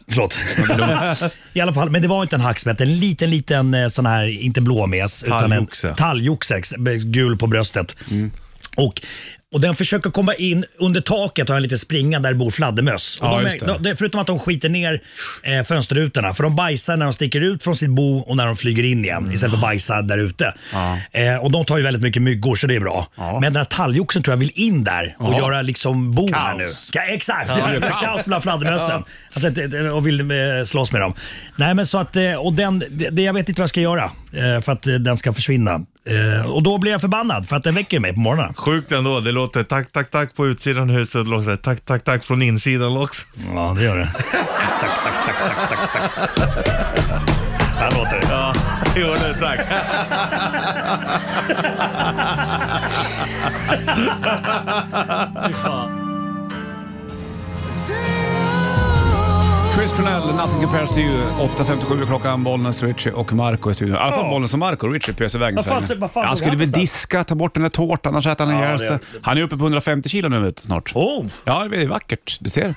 Speaker 9: Förlåt. I alla fall, men det var inte en hackspett. En liten, liten eh, sån här, inte blåmes. utan en
Speaker 3: Talgoxe.
Speaker 2: Mm.
Speaker 9: Talgoxe, ex- gul på bröstet. Och Och den försöker komma in under taket och har en liten springa där det bor fladdermöss. Och
Speaker 2: Ja,
Speaker 9: de,
Speaker 2: just det.
Speaker 9: är- de, förutom att de skiter ner eh, fönsterrutorna, för de bajsar när de sticker ut från sitt bo och när de flyger in igen
Speaker 2: Mm.
Speaker 9: istället för att bajsa där ute. Eh, och de tar ju väldigt mycket myggor så det är bra. Men den här talgoxen tror jag vill in där och
Speaker 2: Ja.
Speaker 9: göra liksom bo här nu.
Speaker 3: Kaos.
Speaker 9: Ka- exakt! Ja, kaos bland fladdermössen. Alltså, det- det- och vill eh, slåss med dem. Nej men så att, eh, och den, det, det- jag vet inte vad jag ska göra eh, för att eh, den ska försvinna. Eh, Och då blir jag förbannad för att den väcker mig på morgonen.
Speaker 3: Sjukt ändå, det låter tack, tack, tack på utsidan av huset, det låter tack, tack, tack från insidan också.
Speaker 9: Ja, det gör det. tack, tack, tack, tack, tack, tack. Så här låter det.
Speaker 3: Ja, jo, det tack.
Speaker 9: Fy fan.
Speaker 2: Chris Cornell, Nothing Compares to You. 8.57 är klockan, Bollnäs, Richie och Marco i studion. I alla fall
Speaker 9: Ja.
Speaker 2: Bollnäs och Marco. Richie pös iväg en
Speaker 9: Vad fan-
Speaker 2: sväng.
Speaker 9: vad fan
Speaker 2: Han
Speaker 9: tog
Speaker 2: skulle
Speaker 9: han
Speaker 2: väl
Speaker 9: någonstans?
Speaker 2: diska, ta bort den där tårtan, annars äter han
Speaker 9: Ja,
Speaker 2: ihjäl
Speaker 9: det-
Speaker 2: sig. Han är uppe på 150 kilo nu vet du, snart.
Speaker 9: Oh,
Speaker 2: Ja, det är vackert. Du ser.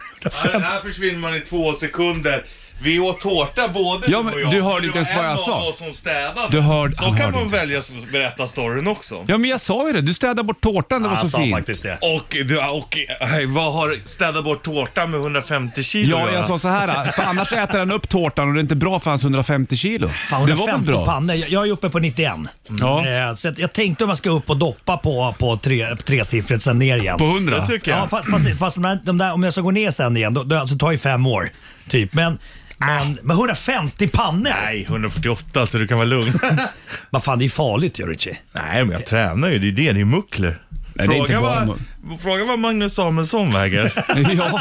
Speaker 3: Den här försvinner man i två sekunder. Vi åt tårta både
Speaker 2: Ja, men
Speaker 3: du och jag.
Speaker 2: du hörde
Speaker 3: men
Speaker 2: inte
Speaker 3: det
Speaker 2: ens
Speaker 3: var
Speaker 2: vad jag
Speaker 3: en
Speaker 2: sa.
Speaker 3: av oss som städade.
Speaker 2: Du hörde-
Speaker 3: så
Speaker 2: han
Speaker 3: kan
Speaker 2: hörde
Speaker 3: man
Speaker 2: inte.
Speaker 3: välja att berätta storyn också.
Speaker 2: Ja, men jag sa ju det. Du städade bort tårtan, det var
Speaker 9: han
Speaker 2: så
Speaker 9: sa
Speaker 2: fint.
Speaker 9: faktiskt det.
Speaker 3: Och, du, och eh, vad har städa bort tårta med 150 kilo
Speaker 2: Ja,
Speaker 3: att göra?
Speaker 2: jag sa så här. För annars äter han upp tårtan och det är inte bra för hans 150 kilo. det var
Speaker 9: Fan,
Speaker 2: väl
Speaker 9: 150
Speaker 2: bra?
Speaker 9: pannor. Jag- Jag är uppe på 91.
Speaker 2: Ja.
Speaker 9: Eh, Så att jag tänkte om jag ska upp och doppa på, på tre- tresiffrigt, sen ner igen.
Speaker 2: På 100?
Speaker 3: Det tycker jag.
Speaker 9: Ja, fast, fast, fast de där, de där, om jag ska gå ner sen igen, då, då, alltså, det tar ju fem år. Typ. Men, men, men 150 pannor?
Speaker 3: Ah. Nej, 148 så du kan vara lugn.
Speaker 9: Vad fan, det är farligt ju Richie.
Speaker 3: Nej, men jag tränar ju. Det är det, det är muckler.
Speaker 2: Nej, det är inte
Speaker 3: Fråga
Speaker 2: bara
Speaker 3: vad, fråga vad Magnus Samuelsson väger.
Speaker 2: ja.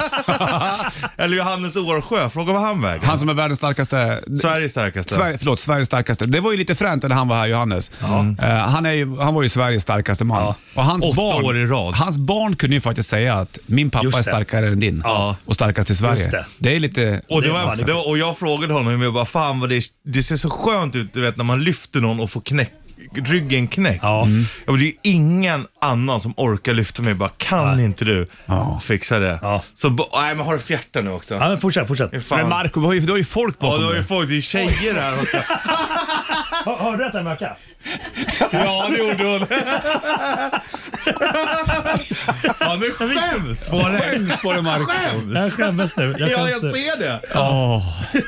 Speaker 3: Eller Johannes Årsjö, fråga vad han väger.
Speaker 2: Han som är världens starkaste...
Speaker 3: Sveriges starkaste.
Speaker 2: Sverige, förlåt, Sveriges starkaste. Det var ju lite fränt när han var här, Johannes. Eh, han, är ju, han var ju Sveriges starkaste man. Och hans
Speaker 3: Åtta
Speaker 2: barn,
Speaker 3: år i rad.
Speaker 2: Hans barn kunde ju faktiskt säga att min pappa
Speaker 9: Just
Speaker 2: är
Speaker 9: det.
Speaker 2: starkare än din
Speaker 3: Ja.
Speaker 2: och starkast i Sverige.
Speaker 9: Just det.
Speaker 2: är lite...
Speaker 3: Och, det
Speaker 9: Det
Speaker 3: var,
Speaker 9: var det.
Speaker 3: det var, och jag frågade honom, jag bara, fan vad det, är- det ser så skönt ut du vet, när man lyfter någon och får knäck, ryggen knäckt.
Speaker 9: Ja.
Speaker 3: Jag bara, det är ju ingen annan som orkar lyfta mig. Jag bara, kan
Speaker 9: Nej.
Speaker 3: inte du
Speaker 2: Ja.
Speaker 3: fixa det?
Speaker 9: Ja.
Speaker 3: Så, ba- nej men har du fjärta nu också?
Speaker 9: Ja, men fortsätt, fortsätt.
Speaker 3: Fan.
Speaker 2: Men Marco, du har ju, du har ju folk
Speaker 3: Ja,
Speaker 2: bakom
Speaker 3: du har ju
Speaker 2: dig.
Speaker 3: folk, det är ju tjejer här också.
Speaker 9: Hör, hörde du att den ökade?
Speaker 3: Ja, det gjorde hon. ja, nu skäms på dig.
Speaker 2: Skäms på dig Marco.
Speaker 3: Skäms!
Speaker 9: Jag skämmes nu. Jag
Speaker 3: Ja,
Speaker 9: skäms
Speaker 3: jag
Speaker 9: nu.
Speaker 3: ser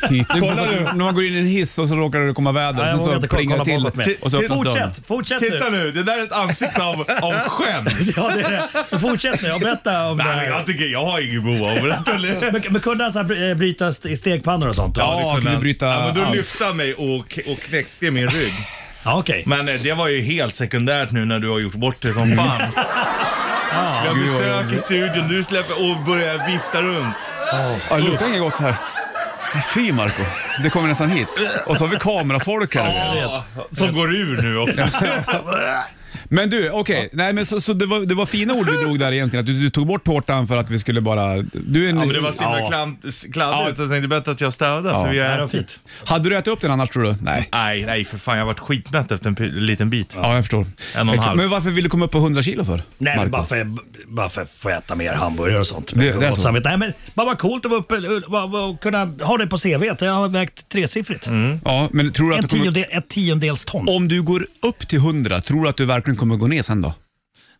Speaker 3: det.
Speaker 2: Typ.
Speaker 3: Kolla nu.
Speaker 2: När man går in i en hiss och så råkar det komma väder.
Speaker 9: Ja, jag
Speaker 2: sen
Speaker 9: vågar
Speaker 2: så
Speaker 9: inte kolla-
Speaker 2: plingar det
Speaker 9: kolla
Speaker 2: till
Speaker 9: bakåt med.
Speaker 2: och så öppnas dörren.
Speaker 9: Fortsätt, fortsätt
Speaker 3: Titta
Speaker 9: nu.
Speaker 3: nu, det där är ett ansikte av, av skäms.
Speaker 9: Ja, det är det. Så Fortsätt nu och berätta om det
Speaker 3: Nej, men
Speaker 9: här.
Speaker 3: jag tycker jag har inget behov av att berätta.
Speaker 9: Men, men kunde han så här bry- eh, bryta st- i stegpannor och sånt? då?
Speaker 2: Ja, kunde
Speaker 3: han.
Speaker 2: bryta
Speaker 3: ja, men då
Speaker 2: allt.
Speaker 3: lyfte han mig och, och knäckte min rygg.
Speaker 9: ja okej.
Speaker 3: Men eh, det var ju helt sekundärt nu när du har gjort bort det som fan. Vi har
Speaker 2: gud, vad
Speaker 3: besök i studion, du släpper och börjar vifta runt.
Speaker 2: Ja, det luktar inget gott här. Fy Marco, det kommer nästan hit. Och så har vi kamerafolk här.
Speaker 3: Som går ur nu också.
Speaker 2: Men du, okej. Nej, men så, så det, var, det var fina ord du drog där egentligen. Att du, du tog bort tårtan för att vi skulle bara... Du är en,
Speaker 3: Ja, men det var så himla
Speaker 9: Ja.
Speaker 3: klant- kladdigt. Jag tänkte bättre att jag städade för vi
Speaker 9: Nej, det var
Speaker 3: är...
Speaker 9: fint.
Speaker 2: Hade du ätit upp den annars tror du? Nej.
Speaker 3: Nej, nej för fan. Jag har varit skitnätt efter en py- liten bit.
Speaker 2: Ja, jag förstår.
Speaker 3: En och en halv.
Speaker 2: Men varför vill du komma upp på 100 kilo för?
Speaker 9: Nej,
Speaker 2: Marco?
Speaker 9: men bara för, bara för att få äta mer hamburgare och sånt.
Speaker 2: Det- det är
Speaker 9: Gott
Speaker 2: så.
Speaker 9: samvete. Nej, men bara vad coolt att vara uppe va- va- och kunna ha det på CVt. Jag har vägt tresiffrigt.
Speaker 2: Ja, men tror du Mm. att du
Speaker 9: En
Speaker 2: kommer...
Speaker 9: tiondel, ett tiondels ton.
Speaker 2: Om du går upp till 100, tror du att du verkligen kommer gå ner sen då?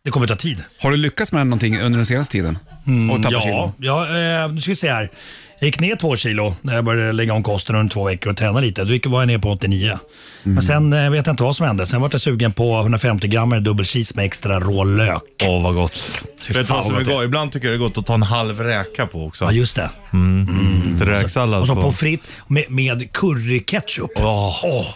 Speaker 9: Det kommer ta tid.
Speaker 2: Har du lyckats med någonting under den senaste tiden?
Speaker 3: Mm,
Speaker 2: och tappa kilo?
Speaker 9: Ja, ja eh, nu ska vi se här. Jag gick ner två kilo när jag började lägga om kosten under två veckor och träna lite. Då gick- var jag ner på 89.
Speaker 2: Mm.
Speaker 9: Men sen eh, vet jag inte vad som hände. Sen var jag sugen på 150 gram med dubbel cheese med extra rå lök.
Speaker 3: Åh, vad gott.
Speaker 9: Fy
Speaker 3: Vet du
Speaker 9: fan,
Speaker 3: vad som är
Speaker 9: vad gott
Speaker 3: gott? Ibland tycker jag det är gott att ta en halv räka på också.
Speaker 9: Ja, just det.
Speaker 2: Mm.
Speaker 3: Lite räksallad
Speaker 9: Och så
Speaker 3: på.
Speaker 9: pommes frites med, med curryketchup.
Speaker 3: Åh.
Speaker 9: Åh,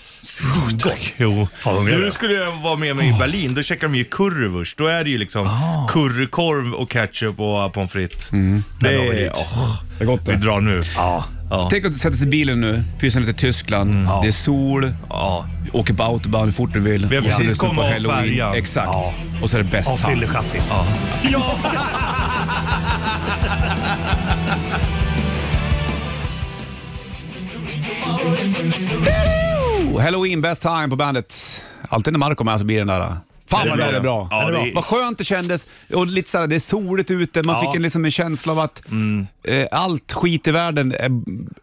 Speaker 3: Tack. Jo.
Speaker 9: Fan, hungrig är
Speaker 3: Du
Speaker 9: jag.
Speaker 3: skulle ju vara med mig i Berlin, då käkar de ju currywurst. Då är det ju liksom currykorv och ketchup och pommes frites. Det
Speaker 9: Den har vi
Speaker 3: är...
Speaker 9: dit.
Speaker 3: åh,
Speaker 2: Det är gott
Speaker 3: vi
Speaker 2: det.
Speaker 3: drar nu.
Speaker 9: Ja.
Speaker 3: Ja.
Speaker 2: Tänk att sätta sig i bilen nu, pysa lite Tyskland, det är sol,
Speaker 3: Mm. Ja.
Speaker 2: åker på autobahn hur fort du vill.
Speaker 3: Vi har
Speaker 2: Och så
Speaker 3: precis
Speaker 2: lyssnar du på
Speaker 3: kommit av
Speaker 2: Halloween.
Speaker 3: färjan.
Speaker 2: Exakt.
Speaker 9: Ja.
Speaker 2: Och så är det bäst
Speaker 9: Ja,
Speaker 2: fan.
Speaker 9: fyllechaffis. Ja.
Speaker 2: Oh, Halloween, best time på bandet. Alltid när Marco är med så blir det den där Fan
Speaker 3: Det
Speaker 2: vad bra det är
Speaker 3: blir det.
Speaker 2: bra.
Speaker 3: Ja,
Speaker 2: det är
Speaker 3: det
Speaker 2: bra.
Speaker 3: är-
Speaker 2: Vad skönt det kändes. Och lite såhär, det är soligt ute. Man
Speaker 9: Ja.
Speaker 2: fick en, liksom en känsla av att
Speaker 3: Mm.
Speaker 2: eh, allt skit i världen är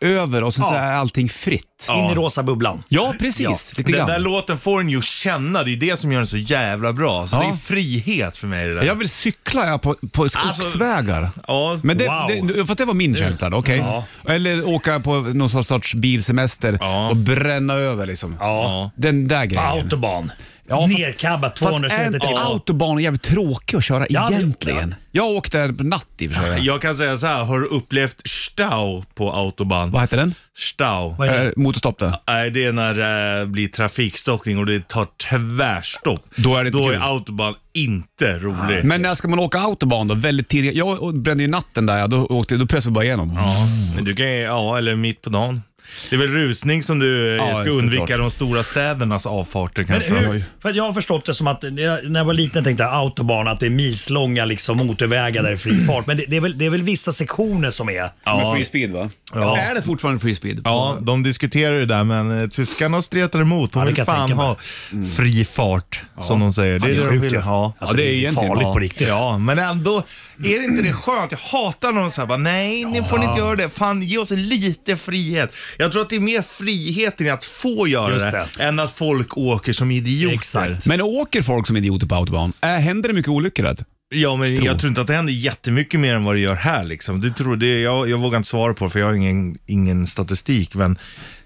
Speaker 2: över och sen så
Speaker 9: Ja.
Speaker 2: är allting fritt. Ja,
Speaker 9: In i rosa bubblan.
Speaker 2: precis.
Speaker 9: Ja.
Speaker 2: Lite
Speaker 3: Den
Speaker 2: grann.
Speaker 3: där låten får en ju känna, det är det som gör den så jävla bra. Så
Speaker 2: Ja.
Speaker 3: det är frihet för mig det där.
Speaker 2: Jag vill cykla ja, på, på
Speaker 3: Alltså,
Speaker 2: skogsvägar.
Speaker 3: Ja,
Speaker 2: Men det,
Speaker 9: Wow.
Speaker 2: det, för att det var min känsla då, okej?
Speaker 9: Ja.
Speaker 2: Eller åka på någon sorts bilsemester
Speaker 3: Ja.
Speaker 2: och bränna över liksom.
Speaker 9: Ja.
Speaker 2: Den där
Speaker 9: På
Speaker 2: grejen.
Speaker 9: autobahn.
Speaker 2: Ja, fast-
Speaker 9: Nerkabbat
Speaker 2: Fast är
Speaker 9: 230
Speaker 2: inte
Speaker 9: timmar.
Speaker 2: autobahn jävligt tråkig att köra
Speaker 9: Ja, det-
Speaker 2: egentligen? Jag åkte på natt i och för sig.
Speaker 3: jag kan säga så här, har du upplevt stau på autobahn?
Speaker 2: Vad heter den?
Speaker 3: Stau.
Speaker 9: Vad är det?
Speaker 2: Eh, motorstopp där.
Speaker 3: Nej, det är när det blir trafikstockning och det tar tvärstopp.
Speaker 2: Då är det inte
Speaker 3: Då
Speaker 2: kul.
Speaker 3: är autobahn inte rolig.
Speaker 2: Men när ska man åka autobahn då? Väldigt tidigt. Jag brände ju natten där, ja, då, åkte, då pressade vi bara igenom.
Speaker 3: Ja, men du kan ju, ja, eller mitt på dagen. Det är väl rusning som du eh,
Speaker 2: Ja,
Speaker 3: ska
Speaker 2: såklart.
Speaker 3: undvika de stora städernas avfarter
Speaker 9: Men
Speaker 3: kanske.
Speaker 9: hur, för att jag har förstått det som att eh, när jag var liten tänkte jag autobahn att det är milslånga liksom motorvägar där det är fri fart. Men det, det, är väl, det är väl vissa sektioner som är...
Speaker 2: Som är free speed va?
Speaker 3: Ja.
Speaker 2: Är det fortfarande free speed?
Speaker 3: Ja, de diskuterar ju det där men eh, tyskarna stretar emot. De
Speaker 9: Ja, det
Speaker 3: vill
Speaker 9: kan jag
Speaker 3: fan
Speaker 9: tänka mig. Mm.
Speaker 3: ha fri fart som de säger. Det är
Speaker 9: det är
Speaker 3: det de
Speaker 9: sjukt,
Speaker 3: vill
Speaker 9: ja.
Speaker 3: ha.
Speaker 9: Alltså,
Speaker 2: det är
Speaker 9: det är ju
Speaker 2: egentligen-
Speaker 9: farligt
Speaker 3: Ja.
Speaker 9: på riktigt.
Speaker 3: Ja, men ändå är det inte det skönt? Jag hatar när de säger bara nej, ni får inte göra det. Fan, ge oss lite frihet. Jag tror att det är mer friheten i att få göra
Speaker 9: Just
Speaker 3: det, än att folk åker som idioter.
Speaker 9: Exakt.
Speaker 2: Men åker folk som idioter på autobahn? Äh, händer det mycket olyckor? där?
Speaker 3: Ja, men jag tror inte att det händer jättemycket mer än vad det gör här liksom. Det tror, det, jag, jag vågar inte svara på det, för jag har ingen, ingen statistik, men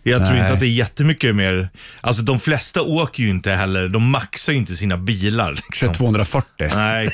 Speaker 3: jag tror
Speaker 2: Nej.
Speaker 3: inte att det är jättemycket mer. Alltså de flesta åker ju inte heller, de maxar ju inte sina bilar liksom.
Speaker 2: 240.
Speaker 3: Nej,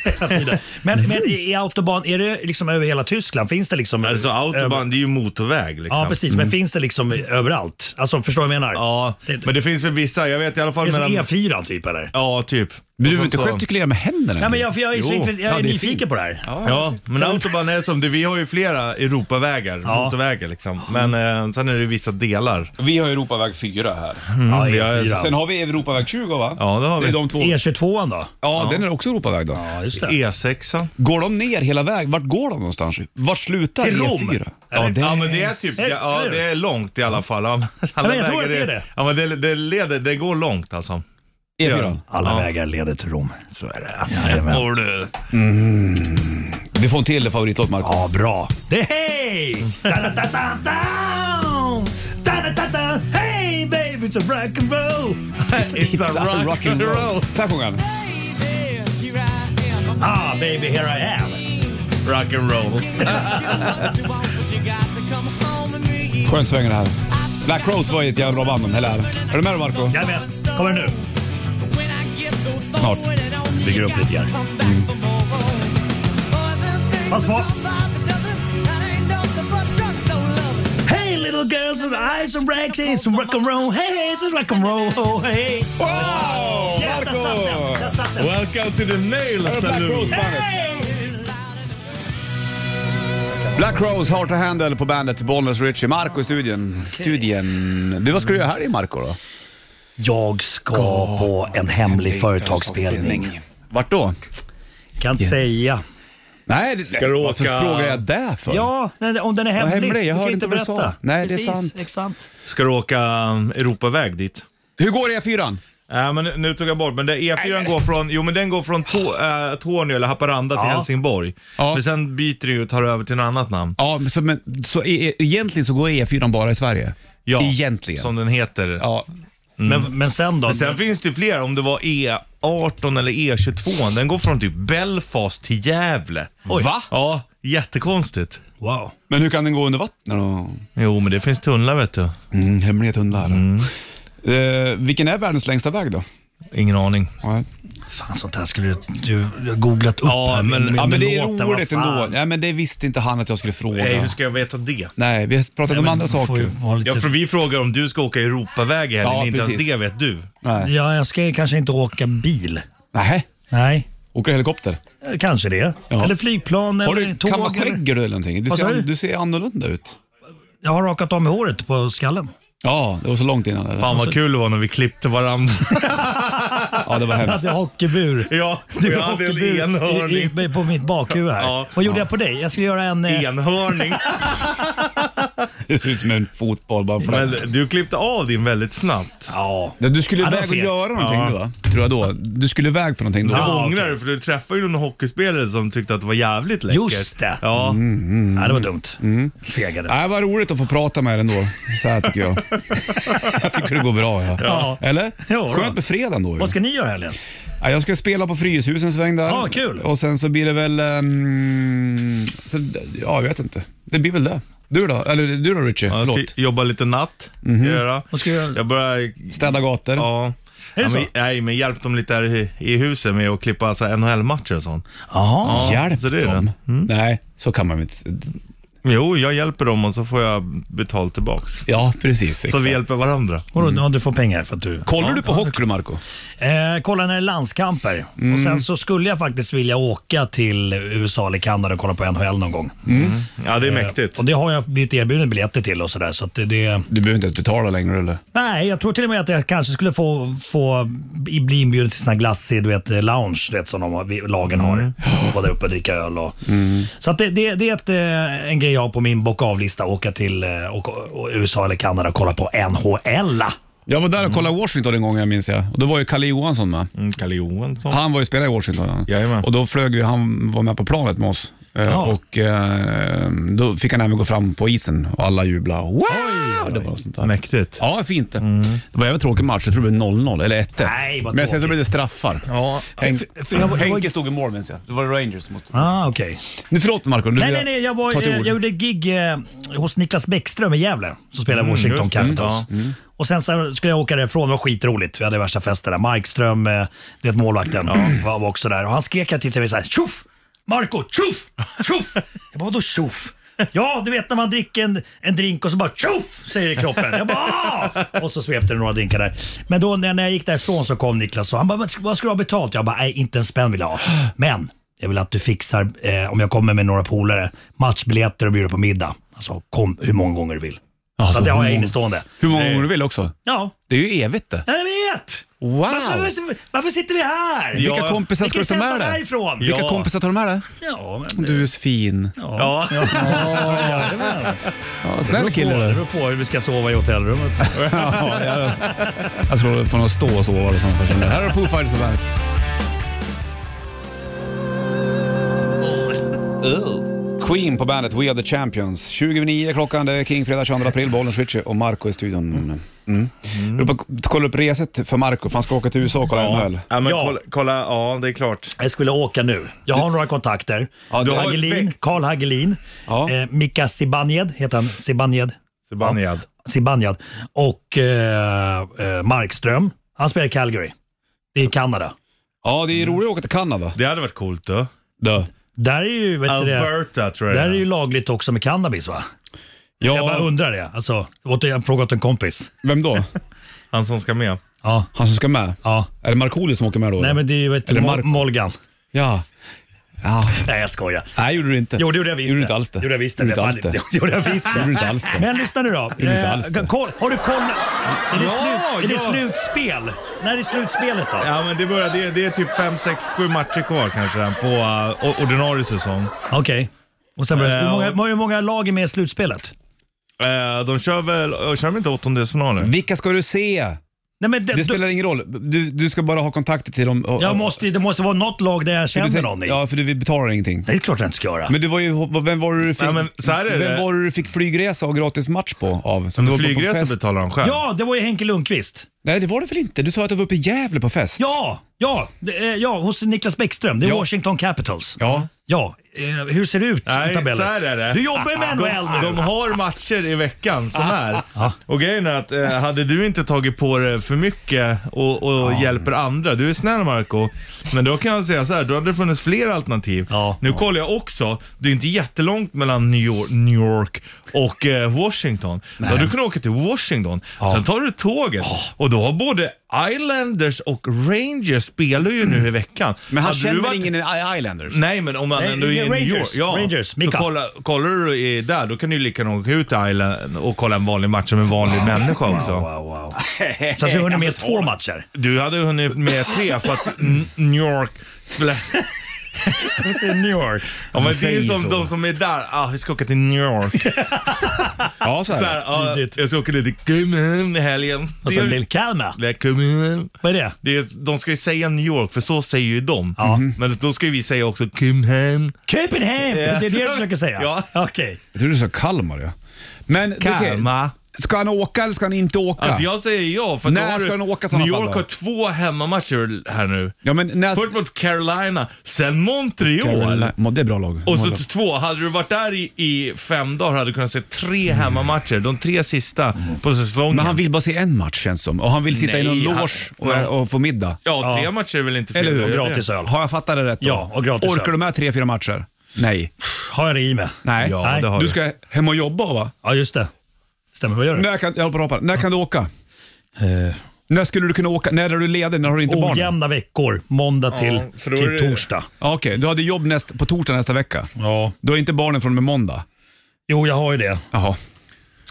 Speaker 9: Men, men i i autobahn, är det liksom över hela Tyskland? Finns det liksom...
Speaker 3: alltså autobahn det är ju motorväg liksom.
Speaker 9: Ja, precis.
Speaker 2: Mm.
Speaker 9: Men finns det liksom överallt? Alltså, förstår du vad jag menar?
Speaker 3: Ja,
Speaker 9: Det-
Speaker 3: men det finns väl vissa, jag vet i alla
Speaker 9: Det
Speaker 3: fall
Speaker 9: är som
Speaker 3: mellan...
Speaker 9: E4 typ eller?
Speaker 3: Ja, typ.
Speaker 2: Men du
Speaker 3: Och
Speaker 2: behöver inte
Speaker 3: sen så-
Speaker 2: gestikulera med händerna.
Speaker 9: Nej, men jag, för jag är, så
Speaker 2: Jo.
Speaker 9: intresserad- jag
Speaker 2: Ja,
Speaker 9: är
Speaker 2: det är
Speaker 9: nyfiken
Speaker 2: fint. Mm,
Speaker 9: på det här. Ja.
Speaker 3: Ja, men autobahn är som det, vi har ju flera Europavägar,
Speaker 9: Ja.
Speaker 3: motorvägar liksom. Men eh, sen är det ju vissa delar.
Speaker 2: Vi har Europaväg 4 här.
Speaker 9: E4.
Speaker 2: Sen har vi Europaväg 20 va?
Speaker 3: Mm. Ja, det har
Speaker 2: Det är
Speaker 3: vi.
Speaker 2: de två. E
Speaker 9: E22 an E då?
Speaker 2: Ja, den är också Europaväg då.
Speaker 9: Ja, just det.
Speaker 3: E E6.
Speaker 2: Går de ner hela vägen? Vart går de någonstans? Vart slutar E
Speaker 9: Till Rom.
Speaker 2: E4?
Speaker 9: Eller?
Speaker 3: Ja
Speaker 2: E
Speaker 3: men det är typ, ja, ja det är långt i alla fall. Ja, men Alla
Speaker 9: men jag tror
Speaker 3: vägar
Speaker 9: att det är det.
Speaker 3: Ja men det, det leder, det går långt alltså.
Speaker 2: E4.
Speaker 9: Alla
Speaker 3: Ja.
Speaker 9: vägar leder till Rom. Så är det. Jajamän.
Speaker 3: Och du.
Speaker 2: Vi får en till favoritlåt Marco.
Speaker 9: Ja, bra. Det hej! Ta-da-ta-ta-ta! Ta-da-ta-ta! Hey baby, it's a rock and roll!
Speaker 3: It's a rock, and roll.
Speaker 2: Så här sjunger han.
Speaker 9: Ah, baby, here I am.
Speaker 3: Rock and roll.
Speaker 2: Skönt svänger det här. Black Rose var ju ett jävla bra band de heller. Är du med då Marco?
Speaker 9: Jajamän, kommer nu.
Speaker 2: Snart.
Speaker 9: Bygger upp lite grann. Mm. Pass på. Hey little girls with eyes and rags, it's some rock and roll, hey it's a rock and roll, hey.
Speaker 2: Wow!
Speaker 9: Yes, där satt den, där satt den.
Speaker 3: Welcome to the nail
Speaker 2: Black
Speaker 3: saloon.
Speaker 2: Rose bandet.
Speaker 9: Hey!
Speaker 2: Black Rose, Heart to Handle på bandet Bollnäs Richie. Marco i studion. studien. Du, vad ska du göra här i Marco då?
Speaker 9: Jag ska på en hemlig företagsspelning.
Speaker 2: Vart då?
Speaker 9: Kan säga.
Speaker 2: Nej, det, ska
Speaker 3: du åka-
Speaker 2: varför frågar jag det för?
Speaker 9: Ja, nej, om den är hemlig.
Speaker 2: hemlig, jag
Speaker 9: du kan
Speaker 2: hörde
Speaker 9: ju
Speaker 2: inte vad du sa.
Speaker 9: berätta.
Speaker 2: Nej, det är
Speaker 9: Precis,
Speaker 2: sant.
Speaker 9: Exakt.
Speaker 3: Ska du åka um, Europaväg dit?
Speaker 2: Hur går E E4?
Speaker 3: Nej men nu tog jag bort, men det, E4 går från, jo men den går från to, eh, Tornio eller Haparanda till
Speaker 9: Ja.
Speaker 3: Helsingborg.
Speaker 2: Ja.
Speaker 3: Men sen byter den ju och tar över till något annat namn.
Speaker 2: Ja, men så, men, så e, e- egentligen så går E4 bara i Sverige?
Speaker 3: Ja,
Speaker 2: Egentligen.
Speaker 3: Som den heter.
Speaker 2: Ja. Mm.
Speaker 9: Men, men sen då?
Speaker 3: Men sen finns det ju fler, om det var E18 eller E22, den går från typ Belfast till Gävle.
Speaker 9: Oj.
Speaker 2: Va?
Speaker 3: Ja, jättekonstigt.
Speaker 9: Wow.
Speaker 2: Men hur kan den gå under vatten? Och...
Speaker 3: Jo, men det finns tunnlar vet du.
Speaker 2: Mm, hemliga tunnlar. Eh, vilken är världens längsta väg då?
Speaker 3: Ingen aning.
Speaker 2: Ja,
Speaker 9: Fan, sånt här skulle du- du du har googlat upp
Speaker 3: Ja,
Speaker 9: här. med-
Speaker 3: men-
Speaker 9: med
Speaker 2: ja men det är
Speaker 9: låten, vad
Speaker 2: roligt
Speaker 9: fan.
Speaker 2: ändå. Ja, men det visste inte han att jag skulle fråga.
Speaker 3: Nej, hur ska jag veta det?
Speaker 2: Nej, vi har pratat om
Speaker 9: Men
Speaker 2: andra
Speaker 9: man får ju
Speaker 2: saker.
Speaker 9: vara lite-
Speaker 3: Ja, för vi frågar om du ska åka Europaväg eller
Speaker 2: Ja,
Speaker 3: inte ens
Speaker 2: precis.
Speaker 3: det vet du.
Speaker 2: Nej.
Speaker 9: Ja, jag ska ju kanske inte åka bil.
Speaker 2: Nähä,
Speaker 9: Nej,
Speaker 2: åker helikopter?
Speaker 9: eh, kanske det.
Speaker 2: Ja.
Speaker 9: Eller flygplan
Speaker 2: Har
Speaker 9: eller
Speaker 2: du
Speaker 9: tåg.
Speaker 2: kammarskägg
Speaker 9: eller-
Speaker 2: du eller någonting? Du
Speaker 9: Vad
Speaker 2: ser,
Speaker 9: sa du?
Speaker 2: du ser annorlunda ut.
Speaker 9: Jag har rakat av mig håret på skallen.
Speaker 2: Ja, det var så långt innan. Eller?
Speaker 3: Fan vad kul det var när vi klippte varandra.
Speaker 2: Ja, det var
Speaker 9: Jag
Speaker 2: hemskt.
Speaker 9: hade hockeybur.
Speaker 3: ja,
Speaker 9: Du
Speaker 3: jag hade en
Speaker 9: hockeyburen
Speaker 3: enhörning.
Speaker 9: i- i- På mitt bakhuvud här.
Speaker 3: Ja.
Speaker 9: Vad gjorde jag på dig? Jag skulle göra en... eh,
Speaker 3: Enhörning.
Speaker 2: Det ser ut som en fotboll bara för att-
Speaker 3: Men du klippte av din väldigt snabbt.
Speaker 9: Ja.
Speaker 2: Ja, Du skulle
Speaker 9: Ja, det var
Speaker 2: iväg och
Speaker 9: fet.
Speaker 2: göra någonting
Speaker 3: Ja.
Speaker 2: då, va? tror jag då. Du skulle iväg på någonting då.
Speaker 3: Du
Speaker 9: Ja.
Speaker 3: ångrar dig för du träffade ju någon hockeyspelare som tyckte att det var jävligt läckert.
Speaker 9: Just det.
Speaker 3: Ja,
Speaker 9: ja, det
Speaker 3: Mm.
Speaker 9: var dumt. Fegade.
Speaker 2: Nej, vad roligt att få prata med dig ändå. Så här tycker jag. jag tycker det går bra. Ja.
Speaker 9: Ja.
Speaker 2: Eller?
Speaker 9: Ja, då.
Speaker 2: Skönt med fredag då. ju.
Speaker 9: Vad ska ni göra i helgen?
Speaker 2: Ja, jag ska spela på Fryshusen en sväng där.
Speaker 9: Ja, kul.
Speaker 2: Och sen så blir det väl... ehm, så, ja, jag vet inte. Det blir väl det. Du då? Eller du då Richie?
Speaker 3: jag ska
Speaker 2: Förlåt.
Speaker 3: jobba lite natt. Mhm. Ska jag göra.
Speaker 9: Vad ska du göra?
Speaker 3: Jag börjar...
Speaker 2: Städa gator.
Speaker 3: Ja.
Speaker 9: Är det
Speaker 3: ja,
Speaker 9: så?
Speaker 3: men, nej, men hjälp dem lite här i, i huset med att klippa alltså, NHL-matcher och sånt.
Speaker 9: Jaha.
Speaker 2: Hjälp
Speaker 3: så det Mm. är
Speaker 2: dem. Nej, så kan man inte.
Speaker 3: Jo, jag hjälper dem och så får jag betalt tillbaks.
Speaker 2: Ja, precis.
Speaker 3: Så
Speaker 2: exakt.
Speaker 3: vi hjälper varandra.
Speaker 9: Vadå, ja, du får pengar för att du...
Speaker 2: Kollar du på hockey Marco?
Speaker 9: Eh, kolla när det är landskamper.
Speaker 3: Mm.
Speaker 9: Och sen så skulle jag faktiskt vilja åka till USA eller Kanada och kolla på NHL någon gång.
Speaker 3: Mm. Ja, det är mäktigt.
Speaker 9: Eh, Och det har jag blivit erbjuden biljetter till och sådär. Så att det, det...
Speaker 2: Du behöver inte ens betala längre eller?
Speaker 9: Nej, jag tror till och med att jag kanske skulle få, få bli inbjuden till sån här glassig, du vet, eh, lounge du vet, som de, har- lagen har. Vara där uppe och dricka öl. Och. Så att det, det, det är ett, eh, en grej jag har på min bock av-lista. Åka till eh, och, och USA eller Kanada och kolla på NHL.
Speaker 2: Jag var där
Speaker 9: Mm.
Speaker 2: och kollade Washington en gång, jag minns jag. Och då var ju Kalle Johansson med.
Speaker 3: Mm, Kalle Johansson.
Speaker 2: Han var ju spelare i Washington. han.
Speaker 3: Jajamän.
Speaker 2: Och då flög ju, han var med på planet med oss. Eh,
Speaker 9: Ja.
Speaker 2: Och eh, då fick han även gå fram på isen och alla jublade. Wow! Det var något sånt där.
Speaker 3: Mäktigt.
Speaker 2: Ja, fint det. Det var en jävligt tråkig match. Jag tror det blev 0-0 eller 1-1.
Speaker 9: Mm. Nej, vad
Speaker 2: Men sen så
Speaker 9: tråkigt.
Speaker 2: blev det straffar.
Speaker 3: Ja.
Speaker 2: Henk,
Speaker 9: För- för jag var- jag var-
Speaker 2: Henke stod i mål minns jag. Det var Rangers mot...
Speaker 9: Ah, okej.
Speaker 2: Nu förlåt Marco. du-
Speaker 9: Nej, nej, nej. Jag, var,
Speaker 2: ta till
Speaker 9: jag,
Speaker 2: ord.
Speaker 9: jag gjorde gig eh, hos Niklas Bäckström i Gävle som spelar
Speaker 2: Mm,
Speaker 9: Washington
Speaker 3: just det.
Speaker 9: Capitals. Och sen så skulle jag åka därifrån. Det var skitroligt. Vi hade värsta festen där. Markström, eh, det är målvakten, var, var också där. Och han skrek jag till mig såhär “Tjoff! Marco, tjoff! Tjoff!” Jag bara “Vadå tjoff?” Ja, du vet när man dricker en, en drink och så bara tjoff säger det i kroppen. Jag bara "Ah!" Och så svepte det några drinkar där. Men då när när jag gick därifrån så kom Niklas och han bara “Vad ska- vad ska du ha betalt?” Jag bara “Nej, inte en spänn vill jag ha. Men jag vill att du fixar, eh, om jag kommer med några polare, matchbiljetter och bjuder på middag. Alltså kom hur många gånger du vill. så
Speaker 2: Alltså,
Speaker 9: att det har jag
Speaker 2: hur många-
Speaker 9: innestående.
Speaker 2: Hur många gånger du vill också.
Speaker 9: Ja,
Speaker 2: Det är ju evigt det.
Speaker 9: jag vet!
Speaker 2: Wow!
Speaker 9: Varför, varför sitter vi här?
Speaker 3: Ja.
Speaker 2: Vilka kompisar ska
Speaker 9: Vilken
Speaker 2: du ta med
Speaker 9: stämpa
Speaker 2: dig?
Speaker 9: härifrån?
Speaker 2: Vilka
Speaker 3: Ja.
Speaker 2: kompisar tar du med dig?
Speaker 9: Ja, men,
Speaker 2: Du är så fin.
Speaker 3: Ja.
Speaker 9: Jajamän.
Speaker 2: Ja, snäll
Speaker 9: Det
Speaker 2: kille.
Speaker 9: beror
Speaker 2: där.
Speaker 9: på- det beror på hur vi ska sova i hotellrummet.
Speaker 2: Ja, jag, jag ska få nog stå och sova. Och sånt. Här har Foo Fighters på bandet.
Speaker 9: Oh.
Speaker 2: Queen på bandet We Are The Champions. 29 klockan, det är King fredag 22 april, Bollnäs Switch och Marco i studion. Mm. Jag vill bara Kolla upp reset för Marco, för han ska åka till USA och kolla NHL.
Speaker 3: Ja, men
Speaker 9: Ja.
Speaker 3: Kolla, kolla, ja det är klart.
Speaker 9: Jag skulle åka nu. Jag har några kontakter.
Speaker 2: Ja, du har
Speaker 3: ett
Speaker 9: Hagelin,
Speaker 3: väck.
Speaker 9: Karl Hagelin,
Speaker 2: Ja.
Speaker 9: eh, Mika Zibanejad, heter han Zibanejad?
Speaker 3: Zibanejad.
Speaker 9: Zibanejad och eh, eh, Markström. Han spelar i Calgary. Det är i Kanada.
Speaker 2: Ja, det är
Speaker 9: Mm.
Speaker 2: roligt att åka till Kanada.
Speaker 3: Det hade varit coolt du.
Speaker 2: Dö.
Speaker 9: Där är ju, vet du det,
Speaker 3: Alberta tror jag
Speaker 9: där är
Speaker 3: det
Speaker 9: ju
Speaker 3: är.
Speaker 9: lagligt också med cannabis va? Jag bara undrar det. Alltså, åter- jag har frågat en kompis.
Speaker 2: Vem då?
Speaker 3: Han som ska med.
Speaker 9: Ja,
Speaker 2: Han som ska med?
Speaker 9: ja.
Speaker 2: Är det Markoolio som åker med då?
Speaker 9: Nej men det är ju vet,
Speaker 2: Är det
Speaker 9: Mo-
Speaker 2: Marco?
Speaker 9: Molgan.
Speaker 2: Ja. ja.
Speaker 9: Nej jag skojar.
Speaker 2: Nej, gjorde du inte.
Speaker 9: Jo det gjorde jag visst
Speaker 2: Gjorde du inte alls det.
Speaker 9: Gjorde jag visst det.
Speaker 2: Gjorde du inte
Speaker 9: Fan,
Speaker 2: alls det.
Speaker 9: det gjorde jag visst
Speaker 2: Gjorde du
Speaker 9: det.
Speaker 2: inte alls det.
Speaker 9: Men lyssna nu då.
Speaker 2: Gjorde inte
Speaker 9: Eh,
Speaker 2: alls det.
Speaker 9: koll- Har du koll? Är det, slut, är det
Speaker 3: ja.
Speaker 9: slutspel? När är slutspelet då?
Speaker 3: Ja men det börjar, det, är- det är typ 5, 6, 7 matcher kvar kanske på uh, o- ordinarie säsong.
Speaker 9: Okej. Och sen, börjar-
Speaker 3: Eh,
Speaker 9: hur, många,
Speaker 3: och-
Speaker 9: hur många lag är med i slutspelet?
Speaker 3: Eh, de kör väl, ö, kör de inte
Speaker 9: Mm.
Speaker 3: åttondelsfinaler?
Speaker 2: Vilka ska du se?
Speaker 9: Nej, men det,
Speaker 2: Det spelar ingen roll. Du, du ska bara ha kontakter till dem. Och-
Speaker 9: jag
Speaker 2: och-
Speaker 9: måste, det måste vara något lag där jag
Speaker 2: för du
Speaker 9: känner
Speaker 2: tänk-
Speaker 9: någon i.
Speaker 2: Ja, för du betalar ingenting.
Speaker 9: Det är klart jag inte ska göra.
Speaker 2: Men du var ju, vem var det du fick,
Speaker 3: Nej, men så här är
Speaker 2: vem
Speaker 3: det.
Speaker 2: var det du fick flygresa och gratis match på av? Som du var på- på fest?
Speaker 3: Flygresa betalar de själv.
Speaker 9: Ja, det var ju Henke Lundqvist.
Speaker 2: Nej, det var det väl inte? Du sa att du var uppe i Gävle på fest.
Speaker 9: Ja, ja, det, eh, ja hos Niklas Bäckström. Det är
Speaker 2: Ja.
Speaker 9: Washington Capitals.
Speaker 2: Ja.
Speaker 9: Ja, eh, hur ser det ut i
Speaker 3: Nej,
Speaker 9: tabellen?
Speaker 3: så här är det.
Speaker 9: Du jobbar ju med NHL nu. Ah,
Speaker 3: De, de har matcher i veckan så här. Och grejen är att eh, hade du inte tagit på dig för mycket och, och
Speaker 9: Ah.
Speaker 3: hjälper andra, du är snäll Marco men då kan jag säga så här, då hade det funnits fler alternativ.
Speaker 9: Ja.
Speaker 3: Nu kollar jag också, det är inte jättelångt mellan New York, New York och eh, Washington. Då hade du kunnat åka till Washington, sen tar du tåget
Speaker 9: Ah.
Speaker 3: och då har både Islanders och Rangers spelar ju nu i veckan.
Speaker 2: Men han
Speaker 3: Hade du
Speaker 2: känner
Speaker 3: varit-
Speaker 2: ingen i- Islanders?
Speaker 3: Nej, men om man
Speaker 9: Nej,
Speaker 3: ändå är i
Speaker 9: Rangers.
Speaker 3: New York. Ja,
Speaker 9: Rangers,
Speaker 3: så
Speaker 9: Mika.
Speaker 3: kolla, kollar du i- där, då kan du ju lika gärna åka ut till Island och kolla en vanlig match som en vanlig människa också.
Speaker 9: Wow, wow. Så att vi hunnit med två matcher.
Speaker 3: Du hade hunnit med tre för att N- New York spelar...
Speaker 9: De säger New York.
Speaker 3: Ja, men
Speaker 2: De
Speaker 3: det är
Speaker 2: säger
Speaker 3: som
Speaker 2: så.
Speaker 3: de som är där. Ah, vi ska åka till New York.
Speaker 2: Ja, så är
Speaker 3: Så
Speaker 2: det.
Speaker 3: här, ah,
Speaker 9: Vidrigt.
Speaker 3: jag ska åka dit till Cayman i helgen.
Speaker 9: Och så
Speaker 3: Det är-
Speaker 9: Lil Kalma.
Speaker 3: Det är Cayman.
Speaker 9: Vad är det?
Speaker 3: Det är, de ska ju säga New York, för så säger ju de. Men då ska ju vi säga också Cayman.
Speaker 9: Köpenhamn! Det är det du försöker säga?
Speaker 3: Ja.
Speaker 9: Okej.
Speaker 2: Jag tror du sa Kalmar. Ja. Men,
Speaker 3: Kalmar.
Speaker 2: okej. Ska han åka eller ska han inte åka?
Speaker 3: Alltså jag säger ja, för
Speaker 2: När
Speaker 3: då har
Speaker 2: ska
Speaker 3: du-
Speaker 2: den åka i sådana
Speaker 3: New
Speaker 2: fall
Speaker 3: York
Speaker 2: då?
Speaker 3: har två hemmamatcher här nu.
Speaker 2: Ja, men när...
Speaker 3: Först mot Carolina, sen Montreal.
Speaker 2: Carolina- Ja, Det är bra lag.
Speaker 3: Och så
Speaker 2: Bra lag.
Speaker 3: två, hade du varit där i, i fem dagar hade du kunnat se tre hemmamatcher, de tre sista på säsongen.
Speaker 2: Men han vill bara se en match känns som. Och han vill sitta i någon
Speaker 3: Nej, han-
Speaker 2: loge och, och få middag.
Speaker 3: Ja, tre matcher är väl inte fel?
Speaker 2: Eller hur?
Speaker 3: Gör det.
Speaker 9: Gratis öl.
Speaker 2: Har jag fattat det rätt då?
Speaker 9: Ja, och gratis
Speaker 2: Orkar
Speaker 9: öl.
Speaker 2: du med tre, fyra matcher? Nej.
Speaker 9: Har jag det i mig?
Speaker 2: Nej.
Speaker 3: Ja,
Speaker 9: Nej,
Speaker 3: det har
Speaker 2: Du
Speaker 3: du.
Speaker 2: ska hem och jobba va?
Speaker 9: Ja, just det. Stämmer. Vad gör du?
Speaker 2: När kan, jag håller på att hoppa. När kan du åka?
Speaker 9: Eh.
Speaker 2: När skulle du kunna åka? När är du ledig? När har du
Speaker 9: Oh,
Speaker 2: inte barn? Ja,
Speaker 9: Ojämna veckor. Måndag till,
Speaker 3: för då är
Speaker 9: till
Speaker 3: det-
Speaker 9: torsdag.
Speaker 2: Okej, du hade jobb näst, på torsdag nästa vecka.
Speaker 9: Ja.
Speaker 2: Du har inte barnen från och med måndag?
Speaker 9: Jo, jag har ju det.
Speaker 2: Jaha.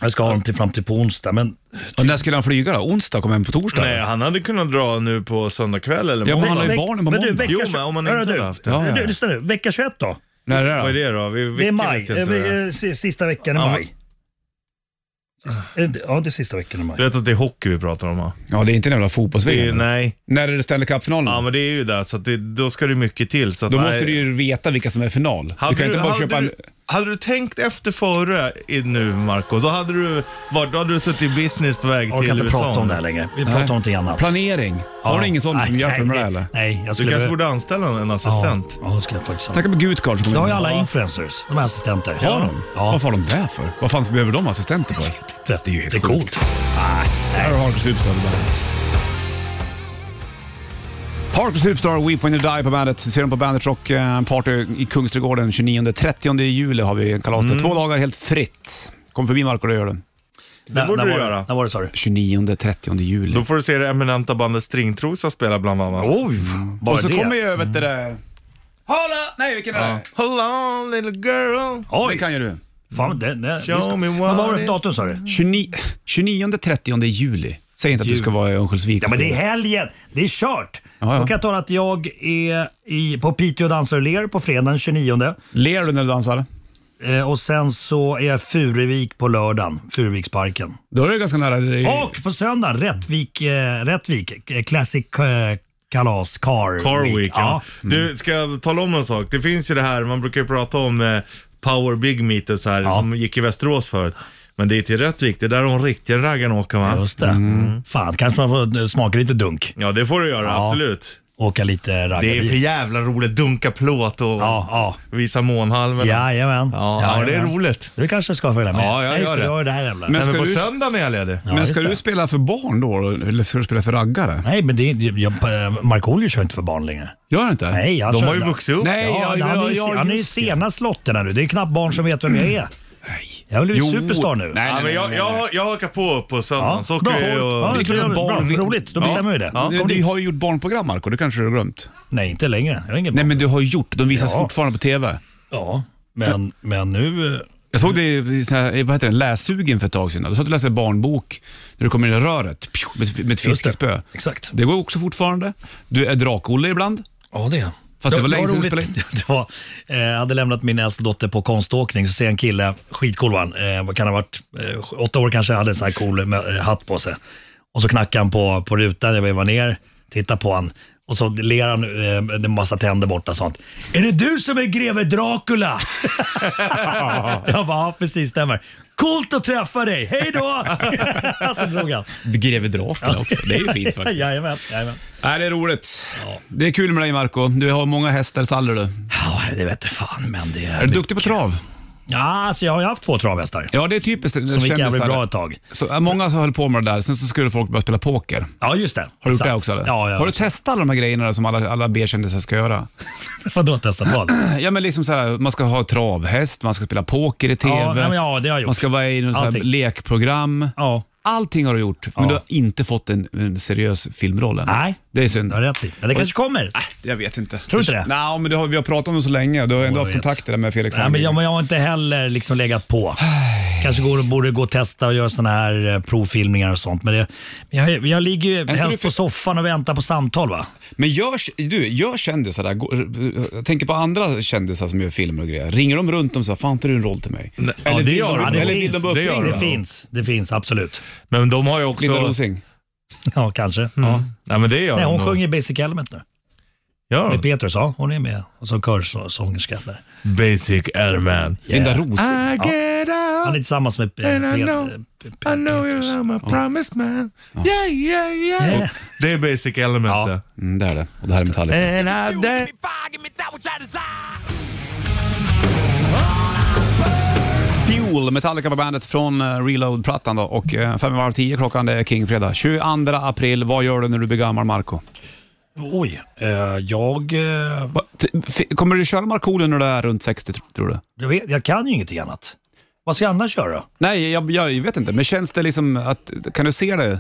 Speaker 9: Jag ska ha dem till fram till på onsdag, men
Speaker 2: Och när skulle han flyga då? Onsdag? Kom hem på torsdag?
Speaker 3: Nej, han hade kunnat dra nu på söndag kväll eller
Speaker 2: Ja, men
Speaker 3: måndag.
Speaker 2: han har ju
Speaker 9: Veck-
Speaker 2: barnen på
Speaker 9: men du,
Speaker 2: måndag.
Speaker 9: vecka
Speaker 3: Jo,
Speaker 9: tjugo-
Speaker 3: men om man inte
Speaker 9: Hörru,
Speaker 3: hade
Speaker 9: du,
Speaker 3: haft det.
Speaker 2: Ja, ja.
Speaker 9: du, Lyssna nu, vecka 21 då?
Speaker 2: När är det då?
Speaker 3: Vad är det då? Vi,
Speaker 9: Det är
Speaker 3: vilken
Speaker 9: maj.
Speaker 3: vet jag
Speaker 9: Eh,
Speaker 3: inte det är.
Speaker 9: vi- eh, si- Sista veckan i
Speaker 3: Ja,
Speaker 9: maj. Sist- är det inte- Ja, det är sista veckan i maj.
Speaker 3: Du vet att det är hockey vi pratar om va?
Speaker 2: Ja, det är inte en jävla
Speaker 3: Det är,
Speaker 2: fotbolls-VM.
Speaker 3: nej.
Speaker 2: När är det Stanley Cup-finalen?
Speaker 3: Ja men det är ju det, så att det, då ska det mycket till. Så att,
Speaker 2: Då
Speaker 3: nej.
Speaker 2: måste du ju veta vilka som är final.
Speaker 3: Hade
Speaker 2: du kan inte bara
Speaker 3: hade
Speaker 2: köpa en...
Speaker 3: du, hade du tänkt efter före i, nu Marco, då hade du, varit, då hade du suttit i business på väg
Speaker 9: Jag
Speaker 3: till
Speaker 9: kan inte
Speaker 3: USA.
Speaker 9: prata om det här längre. Vi pratar om någonting annat.
Speaker 2: Planering. Har du ingen sån som
Speaker 9: Nej,
Speaker 2: hjälper med det
Speaker 9: nej,
Speaker 2: här, eller?
Speaker 9: Nej, jag
Speaker 3: Du
Speaker 9: skulle...
Speaker 3: kanske borde anställa en assistent.
Speaker 9: Ja, ja, det skulle jag faktiskt ha.
Speaker 2: Snacka med Gutgard som
Speaker 9: Då har
Speaker 2: kommer
Speaker 9: ju
Speaker 2: in.
Speaker 9: alla influencers, de är assistenter.
Speaker 2: Har de?
Speaker 9: Ja.
Speaker 2: Varför har de det för? Vad fan behöver de assistenter för? Det är ju helt
Speaker 9: det är
Speaker 2: sjukt.
Speaker 9: coolt.
Speaker 2: Här har Harkus Superstar på bandet. Harkus Superstar, We When You Die på bandet. Ser dem på Bandet Rock eh, Party i Kungsträdgården 29-30 juli har vi kalas
Speaker 9: Mm.
Speaker 2: där. Två dagar helt fritt. Kom förbi Marco, det gör du.
Speaker 9: Det
Speaker 3: borde
Speaker 9: när
Speaker 3: du
Speaker 9: var,
Speaker 3: göra.
Speaker 9: När var det sa du?
Speaker 2: 29-30 juli.
Speaker 3: Då får du se det eminenta bandet Stringtrosa spela bland annat.
Speaker 9: Oj, bara
Speaker 2: Och så
Speaker 9: det. Mm.
Speaker 2: kommer ju vet du det... Hola! Nej, vilken är det?
Speaker 3: Hold on little girl.
Speaker 2: Det
Speaker 9: Oj,
Speaker 2: kan ju du.
Speaker 9: fan, det, det,
Speaker 3: Show
Speaker 9: just-
Speaker 3: me
Speaker 9: Men
Speaker 3: what
Speaker 9: Vad var det för
Speaker 3: is-
Speaker 9: datum sa du?
Speaker 2: 29-30 juli. Säg inte att du ska vara i Örnsköldsvik.
Speaker 9: Ja men det är helgen, det är kört.
Speaker 2: Ja, ja.
Speaker 9: Då kan jag tala att jag är i, på Piteå Dansar och Ler på fredagen 29.
Speaker 2: Ler du när du dansar?
Speaker 9: Eh, och sen så är jag i Furuvik på lördagen, Furuviksparken.
Speaker 2: Då är det ganska nära. Det är-
Speaker 9: Och på söndagen Rättvik, eh, Rättvik eh, Classic eh, Kalas, Car,
Speaker 3: Car Week, ja.
Speaker 9: ja. Mm.
Speaker 3: Du, ska jag tala om en sak? Det finns ju det här, man brukar ju prata om eh, Power Big Meet och så här,
Speaker 9: Ja.
Speaker 3: som gick i Västerås förut. Men det är till Rättvik, det är där de riktiga raggarna åker va?
Speaker 9: Just det.
Speaker 2: Mm.
Speaker 9: Fan, kanske man får eh, smaka lite dunk.
Speaker 3: Ja, det får du göra,
Speaker 9: Ja.
Speaker 3: absolut.
Speaker 9: Åka lite
Speaker 3: Det är för
Speaker 9: raggarbil.
Speaker 3: jävla roligt, dunka plåt och
Speaker 9: Ja, ja.
Speaker 3: visa månhalvorna.
Speaker 9: Jajamän.
Speaker 3: Ja, ja, det är
Speaker 9: Jajamän.
Speaker 3: roligt.
Speaker 9: Du kanske ska följa med?
Speaker 3: Ja, jag
Speaker 9: Nej, just
Speaker 3: gör
Speaker 9: det.
Speaker 3: det.
Speaker 9: Du har ju det här jävla.
Speaker 2: Men
Speaker 3: Men,
Speaker 2: ska
Speaker 3: men på
Speaker 2: du-
Speaker 3: söndagen är jag ledig.
Speaker 9: Ja,
Speaker 2: Men
Speaker 9: just
Speaker 2: ska
Speaker 9: det.
Speaker 2: du spela för barn då, eller ska du spela för raggare?
Speaker 9: Nej, men det, det- jag, Markoolio kör inte för barn längre.
Speaker 2: Gör du inte?
Speaker 9: Nej, han
Speaker 3: De
Speaker 9: kör
Speaker 3: har ju
Speaker 9: inte.
Speaker 3: vuxit upp.
Speaker 2: Nej,
Speaker 9: Ja,
Speaker 2: jag, jag,
Speaker 9: han är
Speaker 2: jag,
Speaker 9: ju, han är ju
Speaker 2: just det.
Speaker 9: senast lotterna nu. Det är knappt barn som vet vem jag är. Jag har blivit
Speaker 2: Jo.
Speaker 9: superstar nu.
Speaker 2: Nej,
Speaker 3: Ja, men jag, jag, jag hakar på på söndagen.
Speaker 9: Ja,
Speaker 3: Så
Speaker 9: bra.
Speaker 3: åker vi och...
Speaker 9: Ja, det är
Speaker 2: klart
Speaker 9: klart
Speaker 2: att
Speaker 9: bra.
Speaker 2: barn-
Speaker 9: Roligt, då bestämmer vi det.
Speaker 3: Ja.
Speaker 2: Du, du har ju gjort barnprogram Marco, det kanske du har glömt?
Speaker 9: Nej, inte längre. Jag har ingen
Speaker 2: Nej
Speaker 9: barn.
Speaker 2: men du har gjort, de visas
Speaker 9: Ja.
Speaker 2: fortfarande på TV.
Speaker 9: Ja, men, men nu... eh,
Speaker 2: Jag såg dig i sån här, vad heter den, lässugen för ett tag sedan. Du satt och läste barnbok när du kom in i röret pju, med, med ett
Speaker 9: just det.
Speaker 2: fiskespö.
Speaker 9: Exakt.
Speaker 2: Det går också fortfarande. Du är Drak-Olle ibland.
Speaker 9: Ja, det är
Speaker 2: Fast det var länge sedan du
Speaker 9: roligt.
Speaker 2: spelade
Speaker 9: det var, eh, Jag hade lämnat min äldsta dotter på konståkning, så ser jag en kille, skitcool var han, eh, vad kan ha varit, eh, sj- åtta år kanske, hade en sån här cool mö- eh, hatt på sig. Och så knackade han på, på rutan, jag vevade ner, tittade på han och så ler han, eh, det är massa tänder borta och sånt. Är det du som är greve Dracula? jag bara, ja, precis stämmer. Coolt att träffa dig, hej då! så drog han.
Speaker 2: Greve Dracula också. Det är ju fint faktiskt.
Speaker 9: Jajamän, jajamän.
Speaker 2: Nej, det är roligt. Det är kul med dig Marco. Du har många hästar i stallet du. Är
Speaker 9: Ja, det vete fan, men det är...
Speaker 2: du duktig på trav?
Speaker 9: Ja, alltså jag har ju haft två travhästar.
Speaker 2: Ja, det är typiskt.
Speaker 9: Som gick jävligt bra ett tag.
Speaker 2: Så, äh, många som höll på med det där, sen så skulle folk börja spela poker. Har
Speaker 9: Ja, just det.
Speaker 2: du gjort det också? Eller?
Speaker 9: Ja, ja.
Speaker 2: har du testat alla de här grejerna där som alla, alla B-kändisar ska göra?
Speaker 9: Vadå testat vad?
Speaker 2: Ja, men liksom så här, man ska ha travhäst, man ska spela poker i TV,
Speaker 9: Ja, nej, men ja, det har jag gjort.
Speaker 2: man ska vara i någon så här
Speaker 9: Allting.
Speaker 2: lekprogram.
Speaker 9: Ja.
Speaker 2: Allting har du gjort, men
Speaker 9: Ja.
Speaker 2: du har inte fått en, en seriös filmroll än.
Speaker 9: Nej.
Speaker 2: Det är synd.
Speaker 9: Det har du rätt i. Men det kanske kommer.
Speaker 2: Jag vet inte.
Speaker 9: Tror du inte det?
Speaker 2: Nej, men du har, vi har pratat om det så länge. Du har ändå
Speaker 9: jag
Speaker 2: haft
Speaker 9: vet.
Speaker 2: kontakter där med Felix
Speaker 9: Nej,
Speaker 2: Herngren.
Speaker 9: men jag, men jag har inte heller liksom legat på. Kanske går, borde gå och testa och göra sådana här eh, provfilmningar och sånt. Men det, jag, jag ligger ju
Speaker 2: inte
Speaker 9: helst
Speaker 2: du för-
Speaker 9: på soffan och väntar på samtal va?
Speaker 2: Men gör, du, gör kändisar där, Gå- jag tänker på andra kändisar som gör filmer och grejer. Ringer de runt dem så här, fan tar du en roll till mig?
Speaker 3: Nej, ja,
Speaker 2: eller
Speaker 3: det
Speaker 2: vill
Speaker 3: gör
Speaker 2: de,
Speaker 3: de.
Speaker 2: Eller
Speaker 3: Det
Speaker 2: vill de
Speaker 3: finns,
Speaker 2: bara
Speaker 3: det gör
Speaker 2: uppringda?
Speaker 9: Det finns, det finns absolut.
Speaker 3: Men de har ju
Speaker 2: Linda
Speaker 3: också...
Speaker 2: Rosing.
Speaker 9: Ja, kanske.
Speaker 3: Ja. Nej men det gör
Speaker 9: Nej,
Speaker 3: de
Speaker 9: hon
Speaker 3: nog.
Speaker 9: sjunger Basic Element nu.
Speaker 3: Gör
Speaker 9: Det
Speaker 3: de?
Speaker 9: är Petrus, ja. Hon är med och som körsångerska. där.
Speaker 3: Basic Airman.
Speaker 2: Linda Rosing.
Speaker 3: I get
Speaker 9: Han är
Speaker 3: out
Speaker 9: tillsammans med eh,
Speaker 3: and I know,
Speaker 9: Pet-
Speaker 3: I know
Speaker 9: Petrus.
Speaker 3: you're my promised man. Yeah, yeah, yeah.
Speaker 9: Yeah.
Speaker 3: Det är Basic Element
Speaker 9: Ja.
Speaker 3: det.
Speaker 2: Mm, det är det. Och det här är Metallica.
Speaker 3: And I dare-
Speaker 2: Fuel, Metallica på bandet från eh, Reload-plattan då. Och eh, fem i halv tio klockan, det är Kingfredag. 22 april, vad gör du när du blir gammal Marco?
Speaker 9: Oj, eh, jag, eh,
Speaker 2: Va- t- f- Kommer du köra Markoolio när du är runt 60 tr- tror du?
Speaker 9: jag, vet, jag kan ju ingenting annat. Vad ska jag annars göra?
Speaker 2: Nej, jag, jag vet inte. Men känns det liksom att, kan du se det?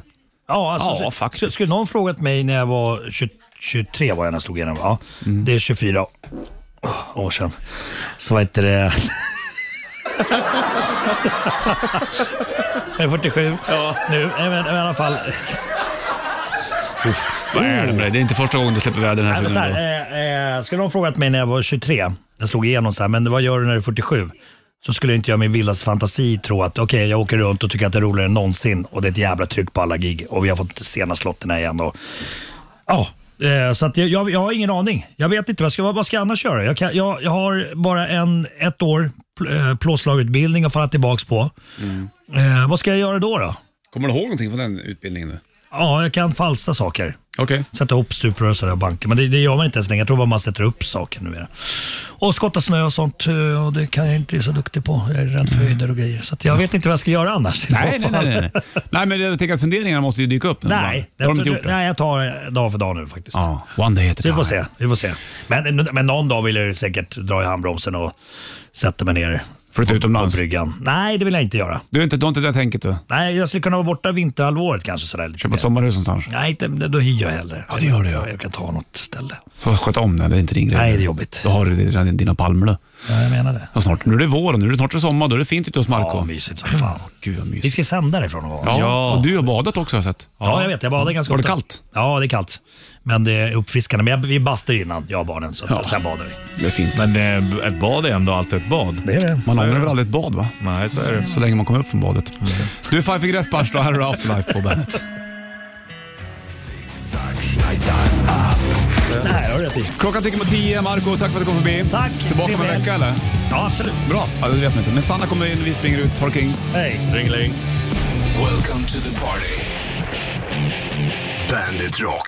Speaker 9: Ja, alltså,
Speaker 2: Ja,
Speaker 9: så-
Speaker 2: faktiskt.
Speaker 9: Skulle någon frågat mig när jag var 20, 23, var jag när jag slog igenom. Ja,
Speaker 2: Mm.
Speaker 9: Det är 24 år sedan. Så vad heter det... jag är 47 nu, Nej, men, men i alla fall.
Speaker 2: Vad är det med dig? Det är inte första gången du släpper väder den
Speaker 9: Nej,
Speaker 2: här
Speaker 9: men Alltså, så
Speaker 2: stunden.
Speaker 9: här eh, eh, skulle någon frågat mig när jag var 23, jag slog igenom så här, men vad gör du när du är 47? Så skulle inte jag i min vildaste fantasi tro att okej, jag åker runt och tycker att det är roligare än någonsin och det är ett jävla tryck på alla gig och vi har fått sena slotterna igen. Och, ja eh, så att jag, jag, jag har ingen aning. Jag vet inte, vad ska, vad vad ska jag annars göra? Jag, kan, jag, jag har bara en, ett år pl- eh, plåtslagutbildning att falla tillbaks på. Eh, vad ska jag göra då? då?
Speaker 2: Kommer du ihåg någonting från den utbildningen nu?
Speaker 9: Ja, jag kan falsa saker.
Speaker 2: Okej.
Speaker 9: Sätta ihop stuprör och banker. Men det, det gör man inte ens längre. Jag tror bara man sätter upp saker numera. Och skotta snö och sånt. eh, Och det kan jag inte är så duktig på. Jag är rädd för höjder och grejer. Så att jag vet inte vad jag ska göra annars. i
Speaker 2: Mm. Nej,
Speaker 9: så
Speaker 2: nej,
Speaker 9: fall.
Speaker 2: nej, nej. nej. nej, men jag tänker att funderingarna måste ju dyka upp. nu ibland.
Speaker 9: Nej,
Speaker 2: det har de inte
Speaker 9: jag,
Speaker 2: gjort
Speaker 9: tror-
Speaker 2: det.
Speaker 9: nej, jag tar eh, dag för dag nu faktiskt.
Speaker 2: Ja, one day at a
Speaker 9: Så vi
Speaker 2: time.
Speaker 9: får se. Vi får se. Men, eh, men någon dag vill jag ju säkert dra i handbromsen och sätta mig ner
Speaker 2: Flytta
Speaker 9: på
Speaker 2: utomlands.
Speaker 9: bryggan. Nej, det vill jag inte göra.
Speaker 2: Du, är inte, du har inte det tänket du?
Speaker 9: Nej, jag skulle kunna vara borta vinterhalvåret kanske. Sådär, lite
Speaker 2: Köpa ett
Speaker 9: mer.
Speaker 2: sommarhus någonstans?
Speaker 9: Nej, inte, då hyr jag hellre. Ja,
Speaker 2: det gör du, ja.
Speaker 9: Jag kan ta något ställe.
Speaker 2: Så sköt om det, det är inte din grej.
Speaker 9: Nej, det är jobbigt.
Speaker 2: Då har du redan dina palmer du.
Speaker 9: Ja, jag menar det.
Speaker 2: Ja, snart. Nu är det våren, nu är det snart är det sommar, då är det fint ute hos Marco.
Speaker 9: Ja, mysigt som fan.
Speaker 2: Gud vad
Speaker 9: Vi
Speaker 2: mysigt.
Speaker 9: ska sända därifrån någon gång.
Speaker 2: Ja.
Speaker 3: Ja.
Speaker 2: och du har badat också har jag sett.
Speaker 9: Ja, jag vet. Jag badar ganska
Speaker 2: Var det
Speaker 9: ofta.
Speaker 2: kallt?
Speaker 9: Ja, det är kallt. Men det är uppfriskande. Men jag, vi bastar ju innan, jag och barnen. Så att, Sen badar vi.
Speaker 2: Det är fint.
Speaker 3: Men eh, ett bad är ändå alltid ett bad.
Speaker 9: Det är det. Mm.
Speaker 2: Man ångrar väl aldrig ett bad va?
Speaker 3: Nej, så är det.
Speaker 2: Så länge man kommer upp från badet. Du, Five Finger Death Punch då. Här har du Afterlife på bandet.
Speaker 9: Nej, jag har rätt i.
Speaker 2: Klockan tickar mot tio. Marco, tack för att du kom förbi.
Speaker 9: Tack.
Speaker 2: Tillbaka om en
Speaker 9: Trevlig.
Speaker 2: vecka eller?
Speaker 9: Ja, absolut.
Speaker 2: Bra. Ja, det vet man inte. Men Sanna kommer in, vi springer ut. Ha det king.
Speaker 9: Hej.
Speaker 1: Welcome to the party. Bandit Rock.